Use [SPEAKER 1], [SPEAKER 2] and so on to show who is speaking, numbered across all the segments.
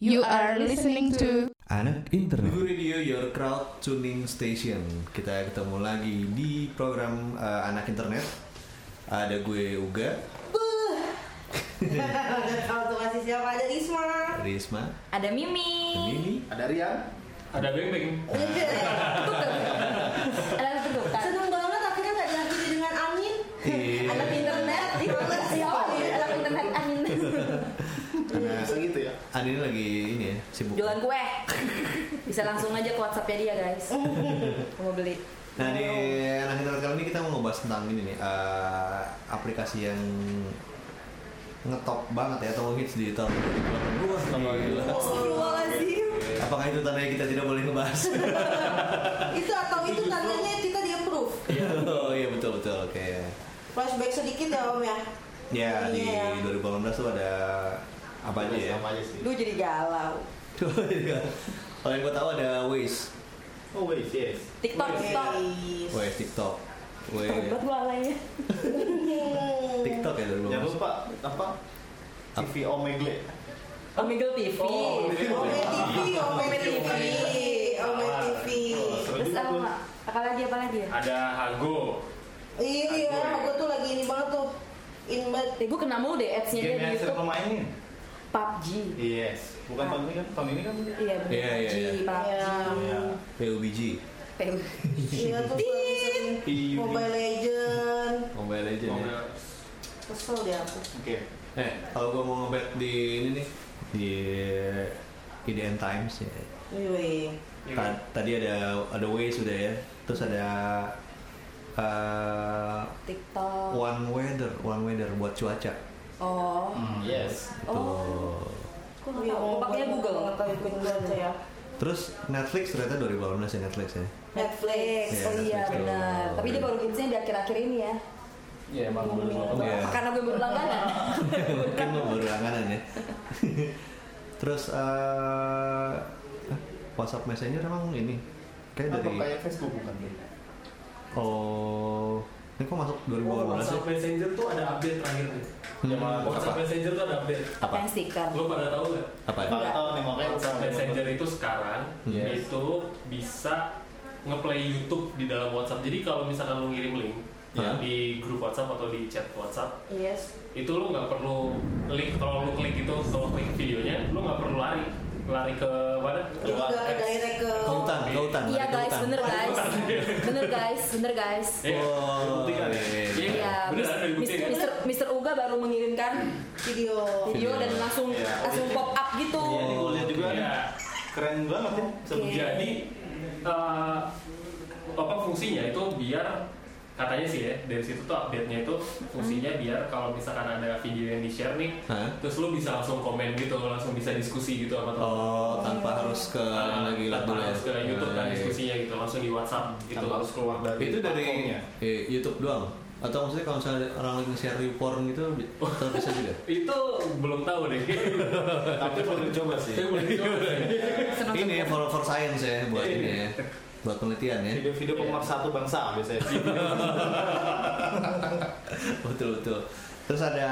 [SPEAKER 1] You are listening to
[SPEAKER 2] Anak internet.
[SPEAKER 3] Google Radio Your Crowd Tuning Station. Kita ketemu lagi di program eh, Anak Internet. Ada gue Uga,
[SPEAKER 4] Gak tau tuh masih siapa ada Isma.
[SPEAKER 3] Risma,
[SPEAKER 5] Ada Mimi.
[SPEAKER 3] Mimi.
[SPEAKER 6] Ada Rian.
[SPEAKER 7] Ada Beng Beng.
[SPEAKER 5] Ada Teguh kan?
[SPEAKER 4] Seneng banget akhirnya gak diakhiri dengan Amin.
[SPEAKER 3] Iya.
[SPEAKER 5] Anak internet. Di mana siapa? Anak internet angin.
[SPEAKER 3] Karena
[SPEAKER 6] Bisa gitu ya.
[SPEAKER 3] Ani lagi ini ya, sibuk.
[SPEAKER 5] Jualan kue. Bisa langsung aja ke WhatsAppnya dia guys. Mau beli.
[SPEAKER 3] Nah di Anak Internet kali ini kita mau ngebahas tentang ini nih eh, aplikasi yang ngetop banget ya atau hits di tahun 2018. Gila.
[SPEAKER 4] Astagfirullahaladzim.
[SPEAKER 3] Apakah itu tandanya kita tidak boleh ngebahas?
[SPEAKER 4] Itu atau itu tandanya kita di approve.
[SPEAKER 3] oh iya betul betul oke.
[SPEAKER 4] Flashback sedikit ya Om ya.
[SPEAKER 3] Ya di
[SPEAKER 4] Iya.
[SPEAKER 3] 2018 tuh ada apa aja ya? iya.
[SPEAKER 6] Sama aja sih.
[SPEAKER 4] Lu jadi galau.
[SPEAKER 3] Kalau yang gue tahu ada Waze,
[SPEAKER 6] Oh wait, yes.
[SPEAKER 5] TikTok, TikTok.
[SPEAKER 4] Yes.
[SPEAKER 3] Waze TikTok, Waze
[SPEAKER 5] Tobat gua alainya.
[SPEAKER 4] Hmm.
[SPEAKER 3] TikTok ya dulu.
[SPEAKER 6] Jangan lupa apa? TV Omegle.
[SPEAKER 5] Omegle TV.
[SPEAKER 6] Oh, Omegle.
[SPEAKER 4] Ome TV, Ome TV, Ome TV.
[SPEAKER 5] Terus apa? Apa lagi apa lagi ya?
[SPEAKER 7] Ada Hago.
[SPEAKER 4] Ini orang Iya, aku tuh lagi ini banget tuh. In banget.
[SPEAKER 5] Eh, gua kena mulu deh ads-nya dia
[SPEAKER 6] Game
[SPEAKER 5] di
[SPEAKER 6] yang sering
[SPEAKER 5] YouTube.
[SPEAKER 6] pemainin.
[SPEAKER 5] PUBG.
[SPEAKER 6] Yes. Bukan tahun ini kan? Tahun ini kan?
[SPEAKER 5] Iya, bener.
[SPEAKER 3] Iya, iya, iya.
[SPEAKER 5] PUBG, PUBG.
[SPEAKER 6] Iya.
[SPEAKER 3] PUBG,
[SPEAKER 5] PU.
[SPEAKER 4] Iya tuh gua bisa di
[SPEAKER 5] Iya.
[SPEAKER 6] Tit.
[SPEAKER 4] Mobile Legend.
[SPEAKER 3] Mobile Legends. ya.
[SPEAKER 4] Kesel deh aku.
[SPEAKER 6] Oke.
[SPEAKER 3] Eh, kalau gue mau ngebet di ini nih di IDN Times ya.
[SPEAKER 4] Wih.
[SPEAKER 3] Ta- Tadi ada ada Waze sudah ya. Terus ada eh,
[SPEAKER 5] TikTok.
[SPEAKER 3] One Weather, One Weather buat cuaca. Gitu.
[SPEAKER 5] Oh.
[SPEAKER 6] Hmm. Yes.
[SPEAKER 3] Itu.
[SPEAKER 5] Oh. Gua nggak tahu. Gua pakainya Google.
[SPEAKER 4] Nggak tahu ikut baca ya.
[SPEAKER 3] Terus Netflix ternyata 2018 ya Netflix ya.
[SPEAKER 5] Netflix.
[SPEAKER 3] Iya,
[SPEAKER 5] oh iya
[SPEAKER 3] Netflix.
[SPEAKER 5] benar.
[SPEAKER 3] Oh,
[SPEAKER 5] Tapi dia
[SPEAKER 3] iya.
[SPEAKER 5] baru hitsnya di akhir-akhir ini ya.
[SPEAKER 6] Iya, emang
[SPEAKER 3] Iya.
[SPEAKER 5] Karena gue belum langganan.
[SPEAKER 3] Mungkin lo baru langganan ya. Terus eh, WhatsApp Messenger emang ini kayak
[SPEAKER 6] Apa
[SPEAKER 3] dari
[SPEAKER 7] ya?
[SPEAKER 6] kayak Facebook bukan?
[SPEAKER 3] oh ini kok masuk 2018
[SPEAKER 7] Oh,
[SPEAKER 3] ya?
[SPEAKER 7] WhatsApp Messenger tuh ada update terakhir nih.
[SPEAKER 3] Hmm,
[SPEAKER 7] WhatsApp
[SPEAKER 3] apa?
[SPEAKER 7] Messenger tuh ada update.
[SPEAKER 3] Apa?
[SPEAKER 5] Yang stiker.
[SPEAKER 7] Lo pada tahu nggak?
[SPEAKER 3] Apa? ya?
[SPEAKER 6] Nggak tahu nih makanya
[SPEAKER 7] WhatsApp
[SPEAKER 6] bukan.
[SPEAKER 7] Messenger itu sekarang
[SPEAKER 3] Yes.
[SPEAKER 7] itu bisa ngeplay YouTube di dalam WhatsApp. Jadi kalau misalkan lo ngirim link
[SPEAKER 3] Hah?
[SPEAKER 7] di grup WhatsApp atau di chat WhatsApp,
[SPEAKER 4] Yes.
[SPEAKER 7] itu lo nggak perlu link. Kalau lo klik itu, kalau klik videonya, lo nggak perlu lari lari ke mana?
[SPEAKER 4] Jadi nggak ke direct ke
[SPEAKER 3] Ke hutan, ke hutan.
[SPEAKER 5] Iya
[SPEAKER 3] lari ke
[SPEAKER 5] guys,
[SPEAKER 3] hutan.
[SPEAKER 5] bener guys, bener guys, bener guys.
[SPEAKER 7] Iya.
[SPEAKER 3] Oh,
[SPEAKER 7] Dibuktikan ya?
[SPEAKER 3] iya, iya.
[SPEAKER 5] Iya,
[SPEAKER 7] Beneran ada
[SPEAKER 5] Mister,
[SPEAKER 7] dibuktikan.
[SPEAKER 5] Mister, Mister Uga baru mengirimkan
[SPEAKER 4] video.
[SPEAKER 5] video dan langsung
[SPEAKER 6] Iya.
[SPEAKER 5] langsung pop up gitu.
[SPEAKER 6] Iya, nih gue lihat juga nih.
[SPEAKER 7] Iya.
[SPEAKER 6] Keren banget ya.
[SPEAKER 5] Oke.
[SPEAKER 7] Jadi eh, apa fungsinya itu biar katanya sih ya dari situ tuh update-nya itu fungsinya biar kalau misalkan ada video yang di share nih,
[SPEAKER 3] Hmm. Hah?
[SPEAKER 7] terus lu bisa langsung komen gitu, langsung bisa diskusi gitu sama teman.
[SPEAKER 3] Oh, tanpa harus ke
[SPEAKER 7] Nah,
[SPEAKER 3] lagi lihat
[SPEAKER 7] tanpa
[SPEAKER 3] dulu ya.
[SPEAKER 7] harus ke YouTube kan
[SPEAKER 3] Nah, iya.
[SPEAKER 7] diskusinya gitu, langsung di WhatsApp gitu.
[SPEAKER 6] Tanpa harus keluar dari
[SPEAKER 3] Itu dari
[SPEAKER 6] platformnya.
[SPEAKER 3] eh, YouTube doang. Atau maksudnya kalau misalnya orang lagi share di porn gitu, bi- tetap bisa juga.
[SPEAKER 7] Itu belum tahu deh.
[SPEAKER 3] Iya.
[SPEAKER 6] Tapi boleh coba sih.
[SPEAKER 7] Itu belum tahu deh.
[SPEAKER 3] ini ya, for, for science ya buat
[SPEAKER 7] Iya.
[SPEAKER 3] ini ya. Buat penelitian ya.
[SPEAKER 6] Video-video pemersatu bangsa biasanya.
[SPEAKER 3] betul betul. Terus ada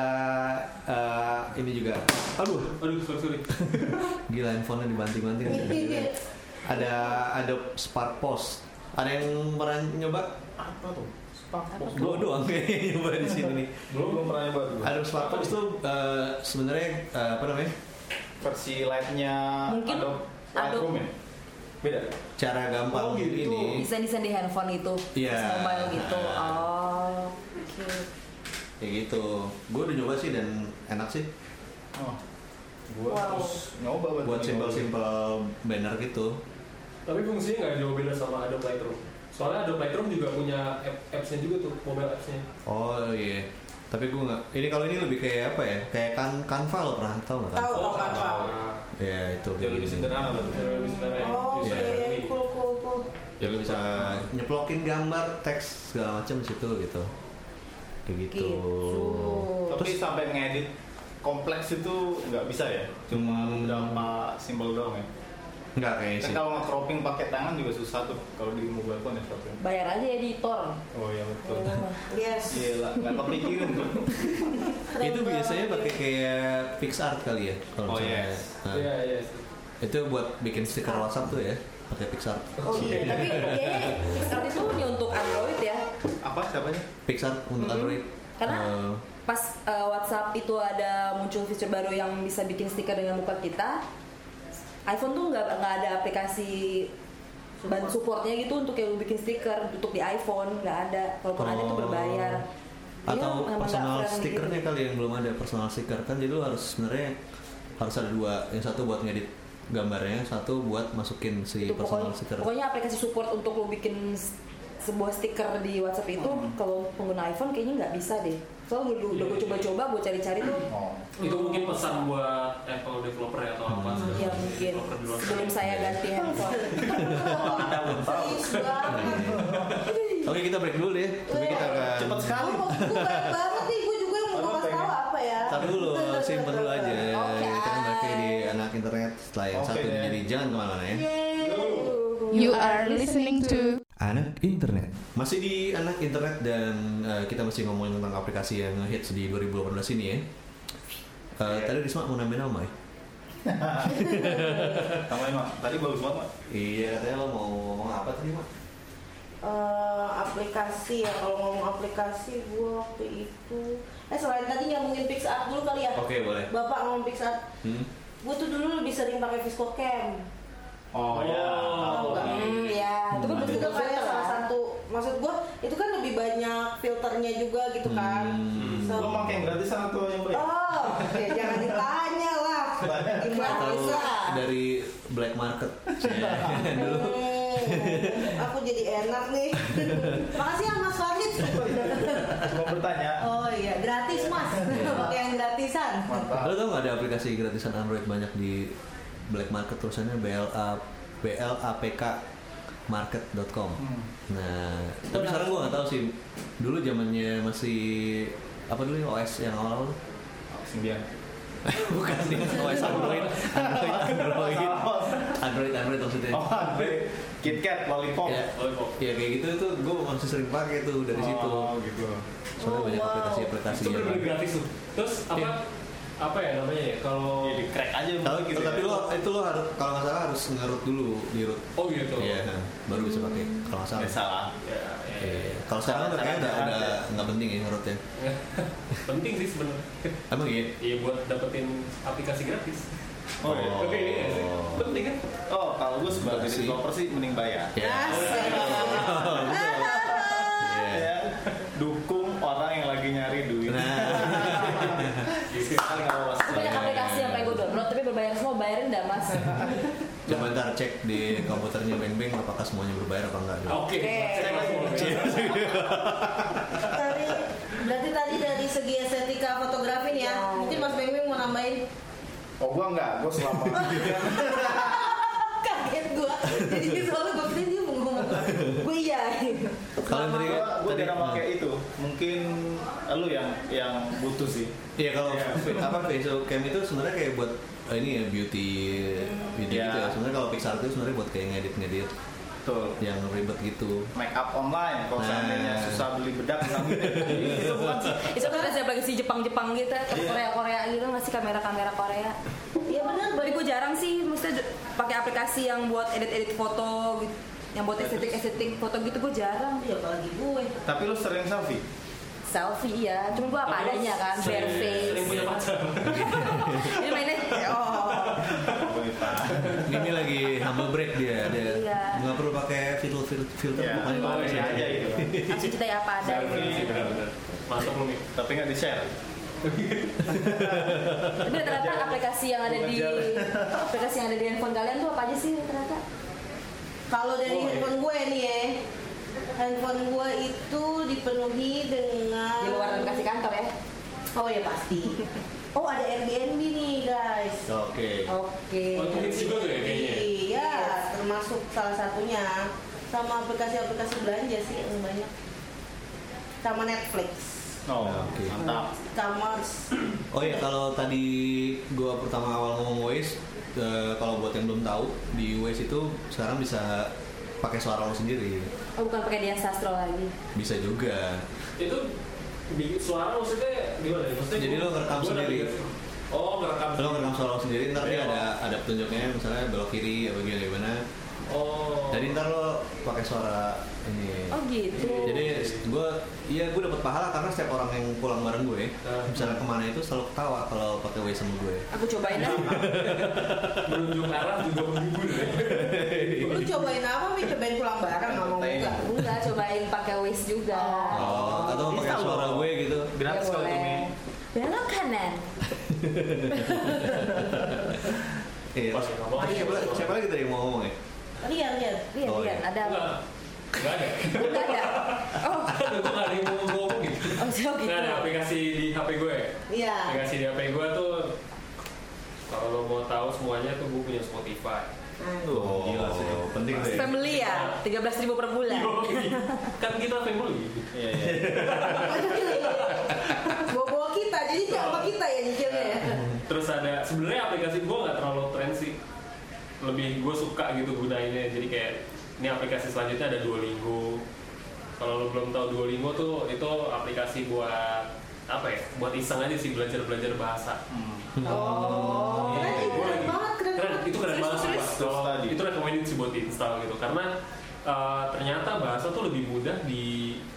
[SPEAKER 3] eh, ini juga. Aduh,
[SPEAKER 7] Aduh, sorry, sorry.
[SPEAKER 3] gila handphonenya dibanting-banting. ada ada Spark Post. Ada yang pernah nyoba?
[SPEAKER 6] Apa tuh? Spark Box.
[SPEAKER 3] Gue doang kayaknya nyoba di sini nih.
[SPEAKER 6] Belum belum pernah nyoba dulu.
[SPEAKER 3] Adobe Spark Post tuh eh, sebenarnya eh, apa namanya?
[SPEAKER 6] versi lightnya
[SPEAKER 5] Mungkin
[SPEAKER 6] Adobe
[SPEAKER 5] Adobe.
[SPEAKER 6] Lightroom ya? Beda.
[SPEAKER 3] Cara gampang
[SPEAKER 6] Oh, gitu.
[SPEAKER 3] ini.
[SPEAKER 5] Desain desain di handphone itu,
[SPEAKER 3] Iya.
[SPEAKER 5] terus mobile gitu. Oh, oke.
[SPEAKER 3] Kayak gitu. Gue udah nyoba sih dan enak sih
[SPEAKER 6] Oh. Gua
[SPEAKER 4] Wow.
[SPEAKER 6] terus nyoba berarti
[SPEAKER 3] buat
[SPEAKER 6] nyoba.
[SPEAKER 3] simpel-simpel banner gitu.
[SPEAKER 7] Tapi fungsinya nggak jauh beda sama Adobe Lightroom. Soalnya Adobe Lightroom juga punya app- apps-nya juga tuh, mobile apps-nya.
[SPEAKER 3] Oh iya. Tapi gue nggak. Ini kalau ini lebih kayak apa ya? Kayak kan Canva lo pernah tau nggak? Canva?
[SPEAKER 4] Tahu tahu apa?
[SPEAKER 7] Oh,
[SPEAKER 3] Iya itu.
[SPEAKER 6] Jauh lebih sederhana lah. tuh.
[SPEAKER 4] Oh, oke,
[SPEAKER 3] Iya.
[SPEAKER 4] cool cool cool.
[SPEAKER 3] Jadi bisa nyeplokin gambar, teks segala macam di situ gitu. Kayak gitu.
[SPEAKER 5] Gitu.
[SPEAKER 6] Tapi sampai ngedit kompleks itu nggak bisa ya. Cuma
[SPEAKER 3] Hmm.
[SPEAKER 6] beberapa simbol doang ya.
[SPEAKER 3] Enggak kayaknya
[SPEAKER 6] Kan
[SPEAKER 3] sih.
[SPEAKER 6] kalau nge-cropping pakai tangan juga susah tuh kalau di mobile phone ya cropping.
[SPEAKER 5] Bayar aja ya di Tor.
[SPEAKER 6] Oh iya betul.
[SPEAKER 4] Yes.
[SPEAKER 3] Iya.
[SPEAKER 6] Gila, nggak kepikiran tuh.
[SPEAKER 3] Itu biasanya pakai kayak PixArt kali ya kalau
[SPEAKER 6] Oh
[SPEAKER 3] misalnya.
[SPEAKER 6] yes.
[SPEAKER 3] Nah,
[SPEAKER 6] Iya iya.
[SPEAKER 3] Itu buat bikin stiker WhatsApp tuh ya, pakai PixArt.
[SPEAKER 5] Oh iya, tapi kayaknya
[SPEAKER 3] Iya.
[SPEAKER 5] Pixar itu hanya untuk Android ya.
[SPEAKER 6] Apa siapanya?
[SPEAKER 3] PixArt untuk
[SPEAKER 5] Mhm.
[SPEAKER 3] Android.
[SPEAKER 5] Karena
[SPEAKER 3] Eh,
[SPEAKER 5] pas eh, WhatsApp itu ada muncul fitur baru yang bisa bikin stiker dengan muka kita, iPhone tuh nggak nggak ada aplikasi ban supportnya gitu untuk yang bikin stiker untuk di iPhone nggak ada walaupun ada itu
[SPEAKER 3] Oh.
[SPEAKER 5] berbayar Dia
[SPEAKER 3] atau
[SPEAKER 5] memang nggak
[SPEAKER 3] personal
[SPEAKER 5] friendly
[SPEAKER 3] stickernya
[SPEAKER 5] gitu.
[SPEAKER 3] kali yang belum ada personal sticker kan jadi lu harus sebenarnya harus ada dua yang satu buat ngedit gambarnya satu buat masukin si
[SPEAKER 5] Itu
[SPEAKER 3] Iya, personal
[SPEAKER 5] pokoknya,
[SPEAKER 3] sticker
[SPEAKER 5] pokoknya aplikasi support untuk lo bikin s- sebuah stiker di WhatsApp itu
[SPEAKER 3] Hmm.
[SPEAKER 5] kalau pengguna iPhone kayaknya nggak bisa deh soalnya gue
[SPEAKER 3] Iya,
[SPEAKER 5] udah gue coba-coba gue cari-cari tuh
[SPEAKER 6] Oh.
[SPEAKER 7] Itu mungkin pesan buat Apple developer ya atau apa segala
[SPEAKER 5] ya
[SPEAKER 7] macam
[SPEAKER 5] mungkin
[SPEAKER 7] developer di luar sana.
[SPEAKER 5] sebelum saya ganti handphone
[SPEAKER 4] Serius banget.
[SPEAKER 3] oke kita break dulu deh tapi kita akan
[SPEAKER 6] Cepat sekali.
[SPEAKER 4] Gue baik banget nih, gue juga yang mau
[SPEAKER 6] Aduh,
[SPEAKER 4] kasih tahu
[SPEAKER 6] pengen.
[SPEAKER 4] apa ya.
[SPEAKER 3] Ntar dulu, simpen dulu aja.
[SPEAKER 5] Oke.
[SPEAKER 3] Kita kan pakai di anak internet setelah yang
[SPEAKER 6] Oke
[SPEAKER 3] satu ini.
[SPEAKER 6] deh.
[SPEAKER 3] jadi jangan kemana-mana ya.
[SPEAKER 1] You are listening to
[SPEAKER 3] Anak internet. Masih di anak internet dan eh, kita masih ngomongin tentang aplikasi yang hits di 2018 ini ya. Eh, Tadi Risma mau nambahin nama ya?
[SPEAKER 6] Tambahin mak. Tadi bagus banget mak.
[SPEAKER 3] Iya, katanya lo mau ngomong apa tadi, Mak?
[SPEAKER 4] Eh, aplikasi ya kalau ngomong aplikasi gue waktu itu eh selain tadi nyambungin PixArt dulu kali ya
[SPEAKER 3] Oke, boleh.
[SPEAKER 4] bapak ngomong PixArt
[SPEAKER 3] Hmm?
[SPEAKER 4] gue tuh dulu lebih sering pakai Viscocam
[SPEAKER 6] Oh, ya.
[SPEAKER 4] Tahu nggak?
[SPEAKER 5] Hmm, ya, itu kan berarti
[SPEAKER 4] itu kan kayak salah satu maksud gue itu kan lebih banyak filternya juga gitu kan
[SPEAKER 3] Hmm.
[SPEAKER 4] So-
[SPEAKER 6] Lo pakai yang gratis atau yang bayar?
[SPEAKER 4] oh ya jangan ditanya lah gimana
[SPEAKER 3] Atau
[SPEAKER 4] bisa
[SPEAKER 3] dari black market Ya, dulu.
[SPEAKER 4] Hmm, aku jadi enak nih makasih ya Mas Fahid
[SPEAKER 6] Mau bertanya.
[SPEAKER 4] oh iya gratis Mas pakai yang gratisan
[SPEAKER 6] Mantap.
[SPEAKER 3] Lo tau gak ada aplikasi gratisan Android banyak di black market tulisannya BLA BLAPK market.com.
[SPEAKER 6] Hmm.
[SPEAKER 3] Nah, tapi sekarang gua nggak tahu sih. Dulu zamannya masih apa dulu ya, OS yang awal
[SPEAKER 6] Sembilan.
[SPEAKER 3] bukan sih OS Android Android Android Android Android maksudnya
[SPEAKER 6] Oh, Andre. KitKat, lollipop.
[SPEAKER 3] ya,
[SPEAKER 7] Lollipop.
[SPEAKER 3] ya kayak gitu tuh gue masih sering pakai tuh dari situ
[SPEAKER 6] Oh, gitu.
[SPEAKER 3] soalnya
[SPEAKER 5] Oh,
[SPEAKER 3] banyak
[SPEAKER 5] wow.
[SPEAKER 3] aplikasi-aplikasi
[SPEAKER 7] itu
[SPEAKER 3] yang
[SPEAKER 7] benar-benar gratis tuh terus apa
[SPEAKER 3] Iya.
[SPEAKER 7] apa ya namanya ya kalau
[SPEAKER 6] Jadi Oh, iya, crack aja
[SPEAKER 3] Tahu
[SPEAKER 6] mungkin
[SPEAKER 3] gitu
[SPEAKER 6] ya.
[SPEAKER 3] tapi lo itu lo harus kalau nggak salah harus ngerut dulu di root.
[SPEAKER 7] oh gitu
[SPEAKER 3] Iya, nah, baru bisa pakai kalau nggak
[SPEAKER 6] Nggak
[SPEAKER 3] salah.
[SPEAKER 6] salah.
[SPEAKER 7] Ya, ya,
[SPEAKER 3] Iya,
[SPEAKER 7] ya.
[SPEAKER 3] iya. Kalau sekarang kan kayaknya udah
[SPEAKER 6] Salah,
[SPEAKER 3] udah
[SPEAKER 6] salah.
[SPEAKER 3] nggak penting ya ngerutnya.
[SPEAKER 7] penting sih sebenarnya
[SPEAKER 3] Emang iya.
[SPEAKER 7] iya buat dapetin aplikasi gratis
[SPEAKER 6] Oh, iya.
[SPEAKER 7] oke ini nggak sih? penting kan
[SPEAKER 6] Oh, kalau gue sebagai
[SPEAKER 3] Berarti.
[SPEAKER 6] developer sih mending bayar.
[SPEAKER 3] Ya.
[SPEAKER 4] Asik.
[SPEAKER 3] Iya.
[SPEAKER 6] Ya, dukung orang yang lagi nyari duit.
[SPEAKER 3] Nah,
[SPEAKER 7] gitu.
[SPEAKER 6] Kan nggak was-
[SPEAKER 5] Aku banyak aplikasi yang pengen gue download tapi berbayar semua bayarin dah mas.
[SPEAKER 3] coba ntar cek di komputernya Beng Beng apakah semuanya berbayar apa gitu. enggak. dulu.
[SPEAKER 7] oke saya masuk dulu ya.
[SPEAKER 4] tadi berarti tadi dari segi estetika fotografi nih ya mungkin Mas Bengwing mau nambahin
[SPEAKER 6] Oh, gue nggak. Gue selama.
[SPEAKER 4] kaget gua jadi soalnya gua pikir dia mau ngomong gua iya
[SPEAKER 5] gitu.
[SPEAKER 3] Kalau yang tadi
[SPEAKER 6] gue
[SPEAKER 3] tadi
[SPEAKER 6] tidak
[SPEAKER 3] ah.
[SPEAKER 6] pakai itu. Mungkin lu yang yang butuh sih.
[SPEAKER 3] Iya kalau
[SPEAKER 6] Iya.
[SPEAKER 3] apa Facebook cam itu sebenarnya kayak buat eh, ini ya beauty beauty
[SPEAKER 6] Iya.
[SPEAKER 3] gitu ya. Sebenarnya kalau Pixar itu sebenarnya buat kayak ngedit-ngedit
[SPEAKER 6] Betul.
[SPEAKER 3] yang ribet gitu.
[SPEAKER 6] Make up online kalau
[SPEAKER 3] Nah.
[SPEAKER 6] seandainya susah beli bedak misalnya. itu bukan sih.
[SPEAKER 5] Itu aplikasi aplikasi Jepang Jepang gitu, Korea Korea gitu masih kamera kamera Korea. Iya benar, tapi gue jarang sih, maksudnya j- pakai aplikasi yang buat edit edit foto, gitu. yang buat estetik estetik foto gitu gue jarang.
[SPEAKER 4] ya apalagi gue
[SPEAKER 6] Tapi lu sering selfie.
[SPEAKER 5] Selfie ya, cuma gue apa
[SPEAKER 7] Tapi
[SPEAKER 5] adanya kan, bare
[SPEAKER 7] sering- sering
[SPEAKER 5] face.
[SPEAKER 7] punya pacar
[SPEAKER 5] Ini mainnya, oh,
[SPEAKER 3] Ini lagi humble break dia, dia
[SPEAKER 5] Iya.
[SPEAKER 3] nggak perlu pakai filter filter, filter
[SPEAKER 6] Ya,
[SPEAKER 3] pokoknya
[SPEAKER 7] Oh,
[SPEAKER 3] pakai
[SPEAKER 7] iya,
[SPEAKER 3] saja.
[SPEAKER 6] aja gitu.
[SPEAKER 5] langsung kita ya apa adanya.
[SPEAKER 7] Benar sih, benar-benar. masuk lu nih
[SPEAKER 6] Tapi nggak di share.
[SPEAKER 5] Tapi ternyata aplikasi yang ada di aplikasi yang ada di handphone kalian tuh apa aja sih ternyata?
[SPEAKER 4] kalau dari
[SPEAKER 6] Oh, iya.
[SPEAKER 4] handphone gue nih ya handphone gue itu dipenuhi dengan
[SPEAKER 5] Di luar aplikasi kantor ya.
[SPEAKER 4] oh ya pasti oh ada Airbnb nih guys
[SPEAKER 3] Oke.
[SPEAKER 5] Oke.
[SPEAKER 7] Oh, itu hits juga tuh ya kayaknya ya?
[SPEAKER 4] iya termasuk salah satunya sama aplikasi-aplikasi belanja sih yang banyak sama Netflix
[SPEAKER 6] Oh,
[SPEAKER 3] Oke.
[SPEAKER 6] mantap.
[SPEAKER 4] sama
[SPEAKER 3] Oh iya kalau tadi gua pertama awal ngomong Waze, eh, kalau buat yang belum tahu di US itu sekarang bisa pakai suara lo sendiri
[SPEAKER 5] Oh bukan pakai dia sastro lagi.
[SPEAKER 3] bisa juga
[SPEAKER 7] itu bikin suara maksudnya gimana ya? Maksudnya
[SPEAKER 3] Jadi
[SPEAKER 7] gua-
[SPEAKER 3] lo ngerekam
[SPEAKER 7] gua
[SPEAKER 3] sendiri?
[SPEAKER 7] ngerekam. Oh ngerekam.
[SPEAKER 3] lo ngerekam suara lo sendiri ntar dia
[SPEAKER 7] Iya.
[SPEAKER 3] ada ada petunjuknya misalnya belok kiri apa gimana gimana
[SPEAKER 7] Oh.
[SPEAKER 3] jadi ntar lo pakai suara ini
[SPEAKER 5] Oh gitu.
[SPEAKER 3] jadi gue iya gue dapat pahala karena setiap orang yang pulang bareng gue
[SPEAKER 7] Ah.
[SPEAKER 3] misalnya kemana itu selalu ketawa kalau pakai way sama gue
[SPEAKER 5] Aku cobain lah.
[SPEAKER 7] menunjuk arah juga menghibur ya.
[SPEAKER 4] Lu cobain apa? Mi cobain pulang bareng ngomong
[SPEAKER 7] Iya.
[SPEAKER 6] Teh.
[SPEAKER 4] enggak?
[SPEAKER 5] Enggak cobain pakai waist juga.
[SPEAKER 3] oh atau
[SPEAKER 6] bisa
[SPEAKER 3] pakai suara
[SPEAKER 6] loh.
[SPEAKER 3] gue gitu
[SPEAKER 6] Gratis
[SPEAKER 5] Ya,
[SPEAKER 6] kalau
[SPEAKER 5] boleh.
[SPEAKER 6] ini.
[SPEAKER 5] Belok kanan.
[SPEAKER 3] iya
[SPEAKER 7] Pas ngomong aja.
[SPEAKER 3] Tapi siapa, siapa lagi tadi yang mau ngomong ya
[SPEAKER 4] Rian, Rian.
[SPEAKER 5] Lihat
[SPEAKER 3] Oh,
[SPEAKER 5] lihat
[SPEAKER 3] iya.
[SPEAKER 5] ada apa?
[SPEAKER 7] Enggak. Enggak ada.
[SPEAKER 5] Enggak ada. Oh,
[SPEAKER 7] Gue nggak ada yang mau ngomong gitu.
[SPEAKER 5] oh so gitu. Ah.
[SPEAKER 7] Nggak ada aplikasi di HP gue.
[SPEAKER 4] Iya.
[SPEAKER 7] ya? Aplikasi di HP gue tuh kalau lo mau tahu semuanya tuh gue punya Spotify.
[SPEAKER 3] oh
[SPEAKER 6] Gila sih.
[SPEAKER 3] penting deh
[SPEAKER 5] Family ya, 13.000 per bulan.
[SPEAKER 7] kan kita family.
[SPEAKER 6] Iya, iya.
[SPEAKER 4] Bawa-bawa kita, jadi itu sama kita ya nyicilnya
[SPEAKER 7] Iya.
[SPEAKER 4] ya.
[SPEAKER 7] Terus ada sebenarnya aplikasi gue nggak terlalu tren sih. Lebih gue suka gitu gunainnya. Jadi kayak ini aplikasi selanjutnya ada Duolingo. Kalau lo belum tahu Duolingo tuh itu aplikasi buat apa ya? Buat iseng aja sih belajar-belajar bahasa.
[SPEAKER 6] Hmm.
[SPEAKER 4] Oh,
[SPEAKER 7] Iya,
[SPEAKER 4] keren,
[SPEAKER 7] iya,
[SPEAKER 4] keren
[SPEAKER 7] iya.
[SPEAKER 4] banget, keren banget.
[SPEAKER 7] itu keren
[SPEAKER 4] Serius,
[SPEAKER 7] banget
[SPEAKER 4] serius.
[SPEAKER 7] Pak. Kalau
[SPEAKER 6] Tadi.
[SPEAKER 7] itu recommended sih buat install gitu karena uh, ternyata bahasa tuh lebih mudah di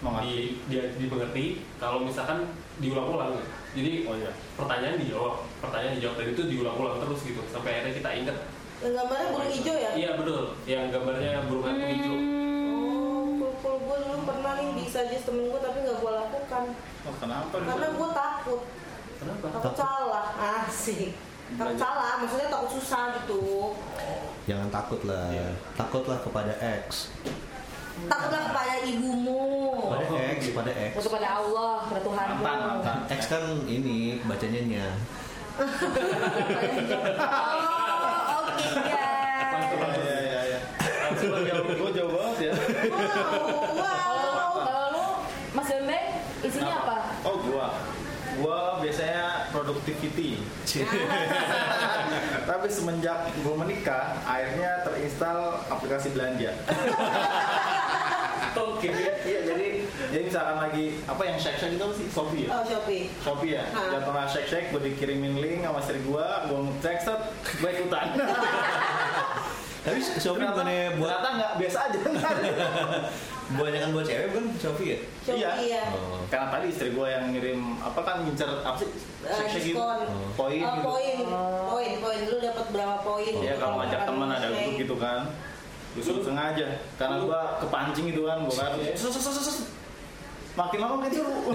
[SPEAKER 6] Mengerti.
[SPEAKER 7] di, dia- dimengerti kalau misalkan diulang-ulang gitu. jadi
[SPEAKER 6] Oh iya.
[SPEAKER 7] pertanyaan dijawab pertanyaan dijawab dan itu diulang-ulang terus gitu sampai akhirnya kita ingat
[SPEAKER 4] Yang gambarnya burung hijau ya?
[SPEAKER 7] iya betul yang gambarnya burung hantu hijau
[SPEAKER 4] Oh, cool-cool gue dulu pernah nih bisa aja temen gue tapi nggak gue lakukan
[SPEAKER 6] Oh, kenapa lu?
[SPEAKER 4] karena gue takut
[SPEAKER 7] kenapa
[SPEAKER 4] takut salah asik takut salah maksudnya takut susah gitu
[SPEAKER 3] jangan takut lah
[SPEAKER 6] Iya.
[SPEAKER 3] takutlah kepada X
[SPEAKER 4] takutlah kepada ibumu
[SPEAKER 3] kepada
[SPEAKER 7] Oh.
[SPEAKER 3] X kepada X
[SPEAKER 5] Untuk pada Allah, pada Tuhan.
[SPEAKER 6] Mantan, mantan.
[SPEAKER 3] X kan ini bacanya nya
[SPEAKER 5] Oh, oke guys.
[SPEAKER 6] Iya, iya, iya, iya. Langsung gua jauh, gua jauh banget ya.
[SPEAKER 4] wow, wow.
[SPEAKER 5] Kalau kalau lu, Mas Bembeng, isinya apa?
[SPEAKER 6] Oh, gua. Gua biasanya productivity.
[SPEAKER 5] Ya.
[SPEAKER 6] Tapi semenjak gua menikah, akhirnya terinstall aplikasi belanja.
[SPEAKER 5] Oh.
[SPEAKER 7] Tuh, kayaknya
[SPEAKER 6] Iya, jadi jadi misalkan lagi apa yang shake shake itu apa sih Shopee ya?
[SPEAKER 4] oh Shopee
[SPEAKER 6] Shopee ya,
[SPEAKER 4] Ah.
[SPEAKER 6] jatuh nggak shake shake, gue dikirimin link sama istri gue, gue ngecek set, gue ikutan.
[SPEAKER 3] tapi Shopee
[SPEAKER 6] Ternyata-
[SPEAKER 3] bukannya buat
[SPEAKER 6] ternyata nggak biasa aja.
[SPEAKER 3] kebanyakan buat cewek bukan Shopee ya
[SPEAKER 4] Shopee
[SPEAKER 6] Iya.
[SPEAKER 4] ya
[SPEAKER 3] oh.
[SPEAKER 6] Karena tadi istri gue yang ngirim apa kan ngincer apa sih shake shake gitu,
[SPEAKER 4] diskon.
[SPEAKER 6] poin
[SPEAKER 4] Eh, Oh,
[SPEAKER 6] gitu.
[SPEAKER 4] poin poin poin lu dapat berapa poin
[SPEAKER 6] Iya kalau ngajak teman ada grup gitu kan. Justru
[SPEAKER 7] Lu-
[SPEAKER 6] sengaja, karena
[SPEAKER 7] lu-
[SPEAKER 6] gue kepancing itu kan, gue kan. sus, sus, sus, sus. Makin lama makin seru.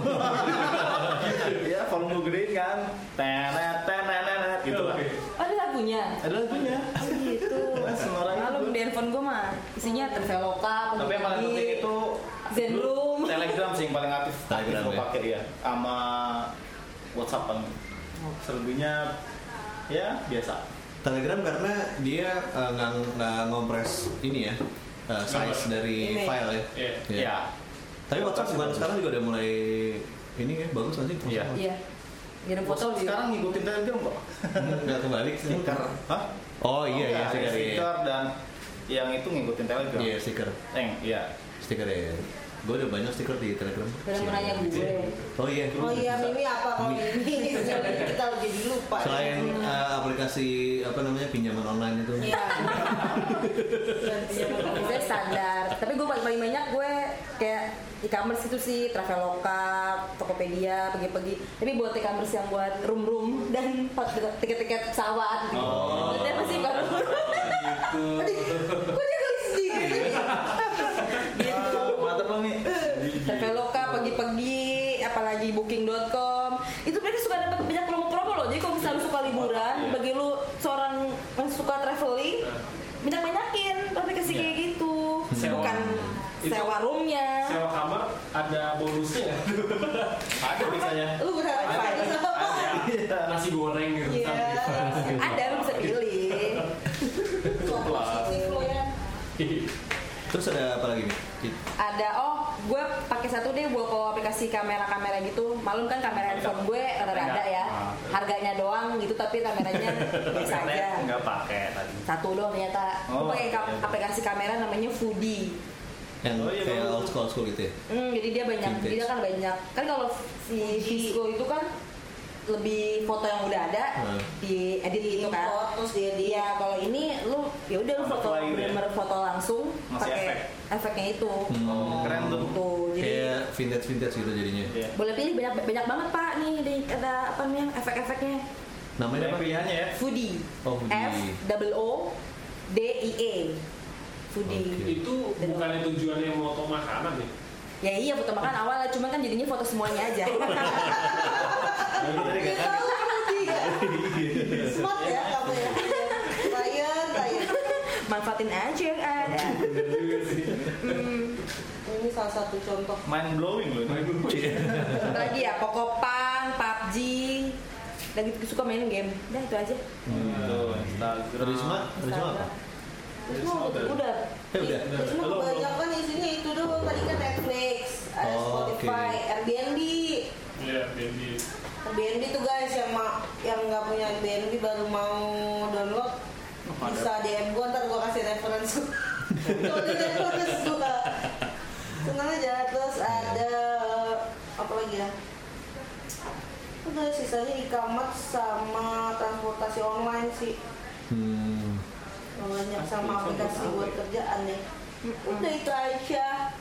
[SPEAKER 6] ya volume gue gedein kan, tenet tenet tenet gitu kan.
[SPEAKER 5] Oh, Ada lagunya.
[SPEAKER 6] Ada lagunya.
[SPEAKER 5] Oh, gitu.
[SPEAKER 6] Semua orang
[SPEAKER 5] Lalu
[SPEAKER 6] itu.
[SPEAKER 5] di handphone gue mah isinya terveloka,
[SPEAKER 6] Tapi yang paling penting itu
[SPEAKER 5] Zen Room.
[SPEAKER 6] Telegram sih yang paling aktif.
[SPEAKER 3] Telegram,
[SPEAKER 6] gue
[SPEAKER 3] ya.
[SPEAKER 6] pakai ya. Sama WhatsApp paling. Selebihnya ya biasa.
[SPEAKER 3] Telegram karena dia eh, nggak nggak ngompres ini ya eh, size dari
[SPEAKER 4] Ini.
[SPEAKER 3] file ya.
[SPEAKER 7] Iya.
[SPEAKER 3] Iya.
[SPEAKER 6] Ya.
[SPEAKER 3] Tapi WhatsApp bukan sekarang juga udah mulai ini ya bagus nggak sih?
[SPEAKER 6] Iya.
[SPEAKER 5] Iya. Kirim foto
[SPEAKER 6] Foto
[SPEAKER 5] di
[SPEAKER 6] sekarang ngikutin Telegram kok.
[SPEAKER 3] Nggak kebalik sih.
[SPEAKER 6] Hah?
[SPEAKER 3] Oh iya iya
[SPEAKER 6] Enggak, ada
[SPEAKER 3] stiker iya.
[SPEAKER 6] stiker dan yang itu ngikutin Telegram.
[SPEAKER 3] Iya stiker
[SPEAKER 6] Eng, iya.
[SPEAKER 3] stiker ya. Gue udah banyak stiker di Telegram.
[SPEAKER 5] Baru mau nanya gue.
[SPEAKER 3] Oh iya.
[SPEAKER 4] oh iya Mimi apa kalau Mimi kita jadi lupa
[SPEAKER 3] Selain eh, aplikasi apa namanya pinjaman online itu.
[SPEAKER 4] Iya.
[SPEAKER 5] Biasanya standar. Tapi gue paling paling banyak gue kayak e-commerce itu sih Traveloka, Tokopedia, pergi-pergi. Tapi buat e-commerce yang buat room-room dan tiket-tiket pesawat gitu.
[SPEAKER 6] Oh.
[SPEAKER 5] Maksudnya pasti baru
[SPEAKER 4] Kok dia nulis sendiri?
[SPEAKER 6] Iya.
[SPEAKER 5] gitu.
[SPEAKER 6] Mantap lo nih.
[SPEAKER 5] Traveloka, pergi-pergi, apalagi booking.com. Itu mereka suka dapat banyak promo-promo loh. Jadi kalau misalnya lu suka liburan,
[SPEAKER 6] Iya.
[SPEAKER 5] bagi lu seorang yang suka traveling, banyak-banyakin aplikasi
[SPEAKER 6] Iya.
[SPEAKER 5] kayak gitu.
[SPEAKER 7] Sewa.
[SPEAKER 5] Bukan
[SPEAKER 7] Itu-
[SPEAKER 5] sewa roomnya.
[SPEAKER 7] sewa kamar ada bonusnya
[SPEAKER 6] Ada biasanya.
[SPEAKER 4] Lu berharap
[SPEAKER 6] Ada.
[SPEAKER 4] apa?
[SPEAKER 6] Iya.
[SPEAKER 7] nasi goreng gitu
[SPEAKER 4] Iya.
[SPEAKER 5] Ada lu bisa pilih.
[SPEAKER 4] Kok positif lo ya?
[SPEAKER 3] Terus ada apa lagi nih? Di-
[SPEAKER 5] Ada oh, gue pakai satu deh buat kalau aplikasi kamera-kamera gitu. Malum kan kamera handphone gue rada ada ya.
[SPEAKER 6] Ah,
[SPEAKER 5] harganya doang gitu tapi kameranya biasa aja
[SPEAKER 6] Ternyata nggak pakai tadi.
[SPEAKER 5] satu doang ternyata aku
[SPEAKER 6] Oh,
[SPEAKER 5] pakai kam-
[SPEAKER 6] iya.
[SPEAKER 5] aplikasi kamera namanya Foodie
[SPEAKER 3] yang
[SPEAKER 6] Oh, iya,
[SPEAKER 3] kayak
[SPEAKER 6] bener.
[SPEAKER 3] old school old school gitu ya
[SPEAKER 5] Hmm, jadi dia banyak,
[SPEAKER 3] Vintage.
[SPEAKER 5] dia kan banyak. Kan kalau si Fisco itu kan lebih foto yang udah ada
[SPEAKER 3] Hmm.
[SPEAKER 5] di edit
[SPEAKER 4] Di
[SPEAKER 5] gitu kan.
[SPEAKER 4] import, terus dia di
[SPEAKER 5] Iya, kalau ini lu ya udah lu
[SPEAKER 6] On the
[SPEAKER 5] foto
[SPEAKER 6] fly gitu ya?
[SPEAKER 5] bener foto langsung
[SPEAKER 6] Masih efek.
[SPEAKER 5] pakai efeknya itu.
[SPEAKER 3] Hmm.
[SPEAKER 6] Oh, Keren tuh.
[SPEAKER 5] Gitu. Jadi
[SPEAKER 3] kayak vintage vintage gitu jadinya
[SPEAKER 6] Iya.
[SPEAKER 5] boleh pilih banyak banyak banget Pak nih di- ada apa nih efek-efeknya.
[SPEAKER 3] namanya
[SPEAKER 6] Banyak
[SPEAKER 3] apa
[SPEAKER 6] pilihannya ya.
[SPEAKER 5] Foodie.
[SPEAKER 3] Oh, Foodie.
[SPEAKER 5] F double O D I E. Foodie.
[SPEAKER 3] Oke.
[SPEAKER 7] Itu bukannya tujuannya mau foto makanan ya?
[SPEAKER 5] Ya iya foto makan awalnya cuma kan jadinya foto semuanya aja. Iya.
[SPEAKER 6] Tadi kan-
[SPEAKER 4] Smart ya kamu ya. Ryan, Ryan.
[SPEAKER 5] Manfaatin aja kan. yang ada.
[SPEAKER 4] Ini salah satu contoh.
[SPEAKER 6] Mind blowing loh. ini. Iya.
[SPEAKER 5] Apa lagi ya Pokopang, PUBG lagi suka main game udah itu aja
[SPEAKER 6] Gitu, Instagram.
[SPEAKER 3] Risma Risma apa
[SPEAKER 4] Terus mau
[SPEAKER 5] udah udah
[SPEAKER 3] Eh, udah.
[SPEAKER 4] Terus
[SPEAKER 7] Belum, belum.
[SPEAKER 4] kebanyakan isinya itu doang tadi kan Netflix, ada
[SPEAKER 3] Oh,
[SPEAKER 4] Spotify,
[SPEAKER 3] oke.
[SPEAKER 4] Airbnb.
[SPEAKER 7] Iya, jadi
[SPEAKER 4] Airbnb tuh guys yang ma- yang nggak punya Airbnb baru mau download
[SPEAKER 6] ada.
[SPEAKER 4] bisa DM gua ntar gua kasih referensi. Kalau di referensi gua. Senang aja terus
[SPEAKER 7] Iya.
[SPEAKER 4] ada eh, apa lagi ya? Udah sisanya e-commerce sama transportasi online sih
[SPEAKER 3] hmm
[SPEAKER 4] banyak sama aplikasi buat kerjaan ya. Udah itu aja.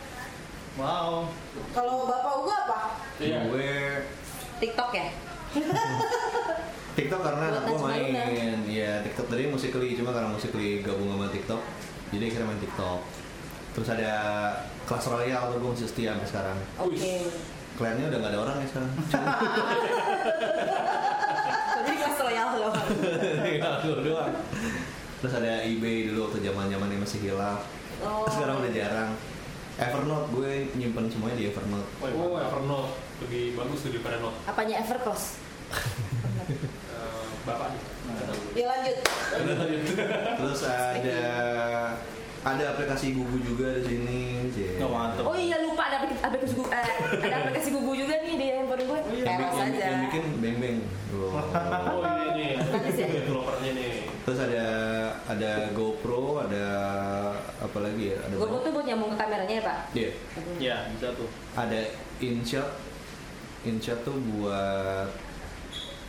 [SPEAKER 6] Wow.
[SPEAKER 4] Kalau bapak Uga apa?
[SPEAKER 7] iya.
[SPEAKER 3] gue
[SPEAKER 5] TikTok ya
[SPEAKER 3] TikTok karena anak
[SPEAKER 5] Buat
[SPEAKER 3] gue
[SPEAKER 5] Najma Luna.
[SPEAKER 3] main ya TikTok tadi musikly cuma karena musikly gabung sama TikTok jadi akhirnya main TikTok terus ada kelas royal tuh gue masih setia sampai sekarang
[SPEAKER 5] oke
[SPEAKER 7] Wih.
[SPEAKER 3] kliennya udah gak ada orang ya sekarang
[SPEAKER 5] jadi kelas royal loh
[SPEAKER 3] tinggal gue Iya, doang terus ada eBay dulu waktu zaman zamannya masih hilaf
[SPEAKER 4] Oh.
[SPEAKER 3] sekarang udah jarang Evernote gue nyimpen semuanya di Evernote
[SPEAKER 7] Oh, Evernote lebih bagus tuh daripada Note.
[SPEAKER 5] apanya Evercross
[SPEAKER 7] Eh, Bapak nih. Iya.
[SPEAKER 4] Ya lanjut.
[SPEAKER 3] terus ada ada aplikasi Gugu juga di sini Jay.
[SPEAKER 6] Nggak mantep.
[SPEAKER 5] oh iya lupa ada aplik- aplikasi gugu eh, ada aplikasi gugu juga nih di handphone gue
[SPEAKER 6] iya.
[SPEAKER 3] Oh yang,
[SPEAKER 5] eros
[SPEAKER 3] bikin, yang,
[SPEAKER 5] aja
[SPEAKER 3] yang bikin beng beng
[SPEAKER 7] Oh, ini nih.
[SPEAKER 5] Bagus ya?
[SPEAKER 7] Developernya nih.
[SPEAKER 3] terus ada ada GoPro ada apa lagi ya ada
[SPEAKER 5] gue tuh buat nyambung ke kameranya ya Pak
[SPEAKER 3] Iya.
[SPEAKER 6] Ya, bisa tuh.
[SPEAKER 3] ada InShot InShot tuh buat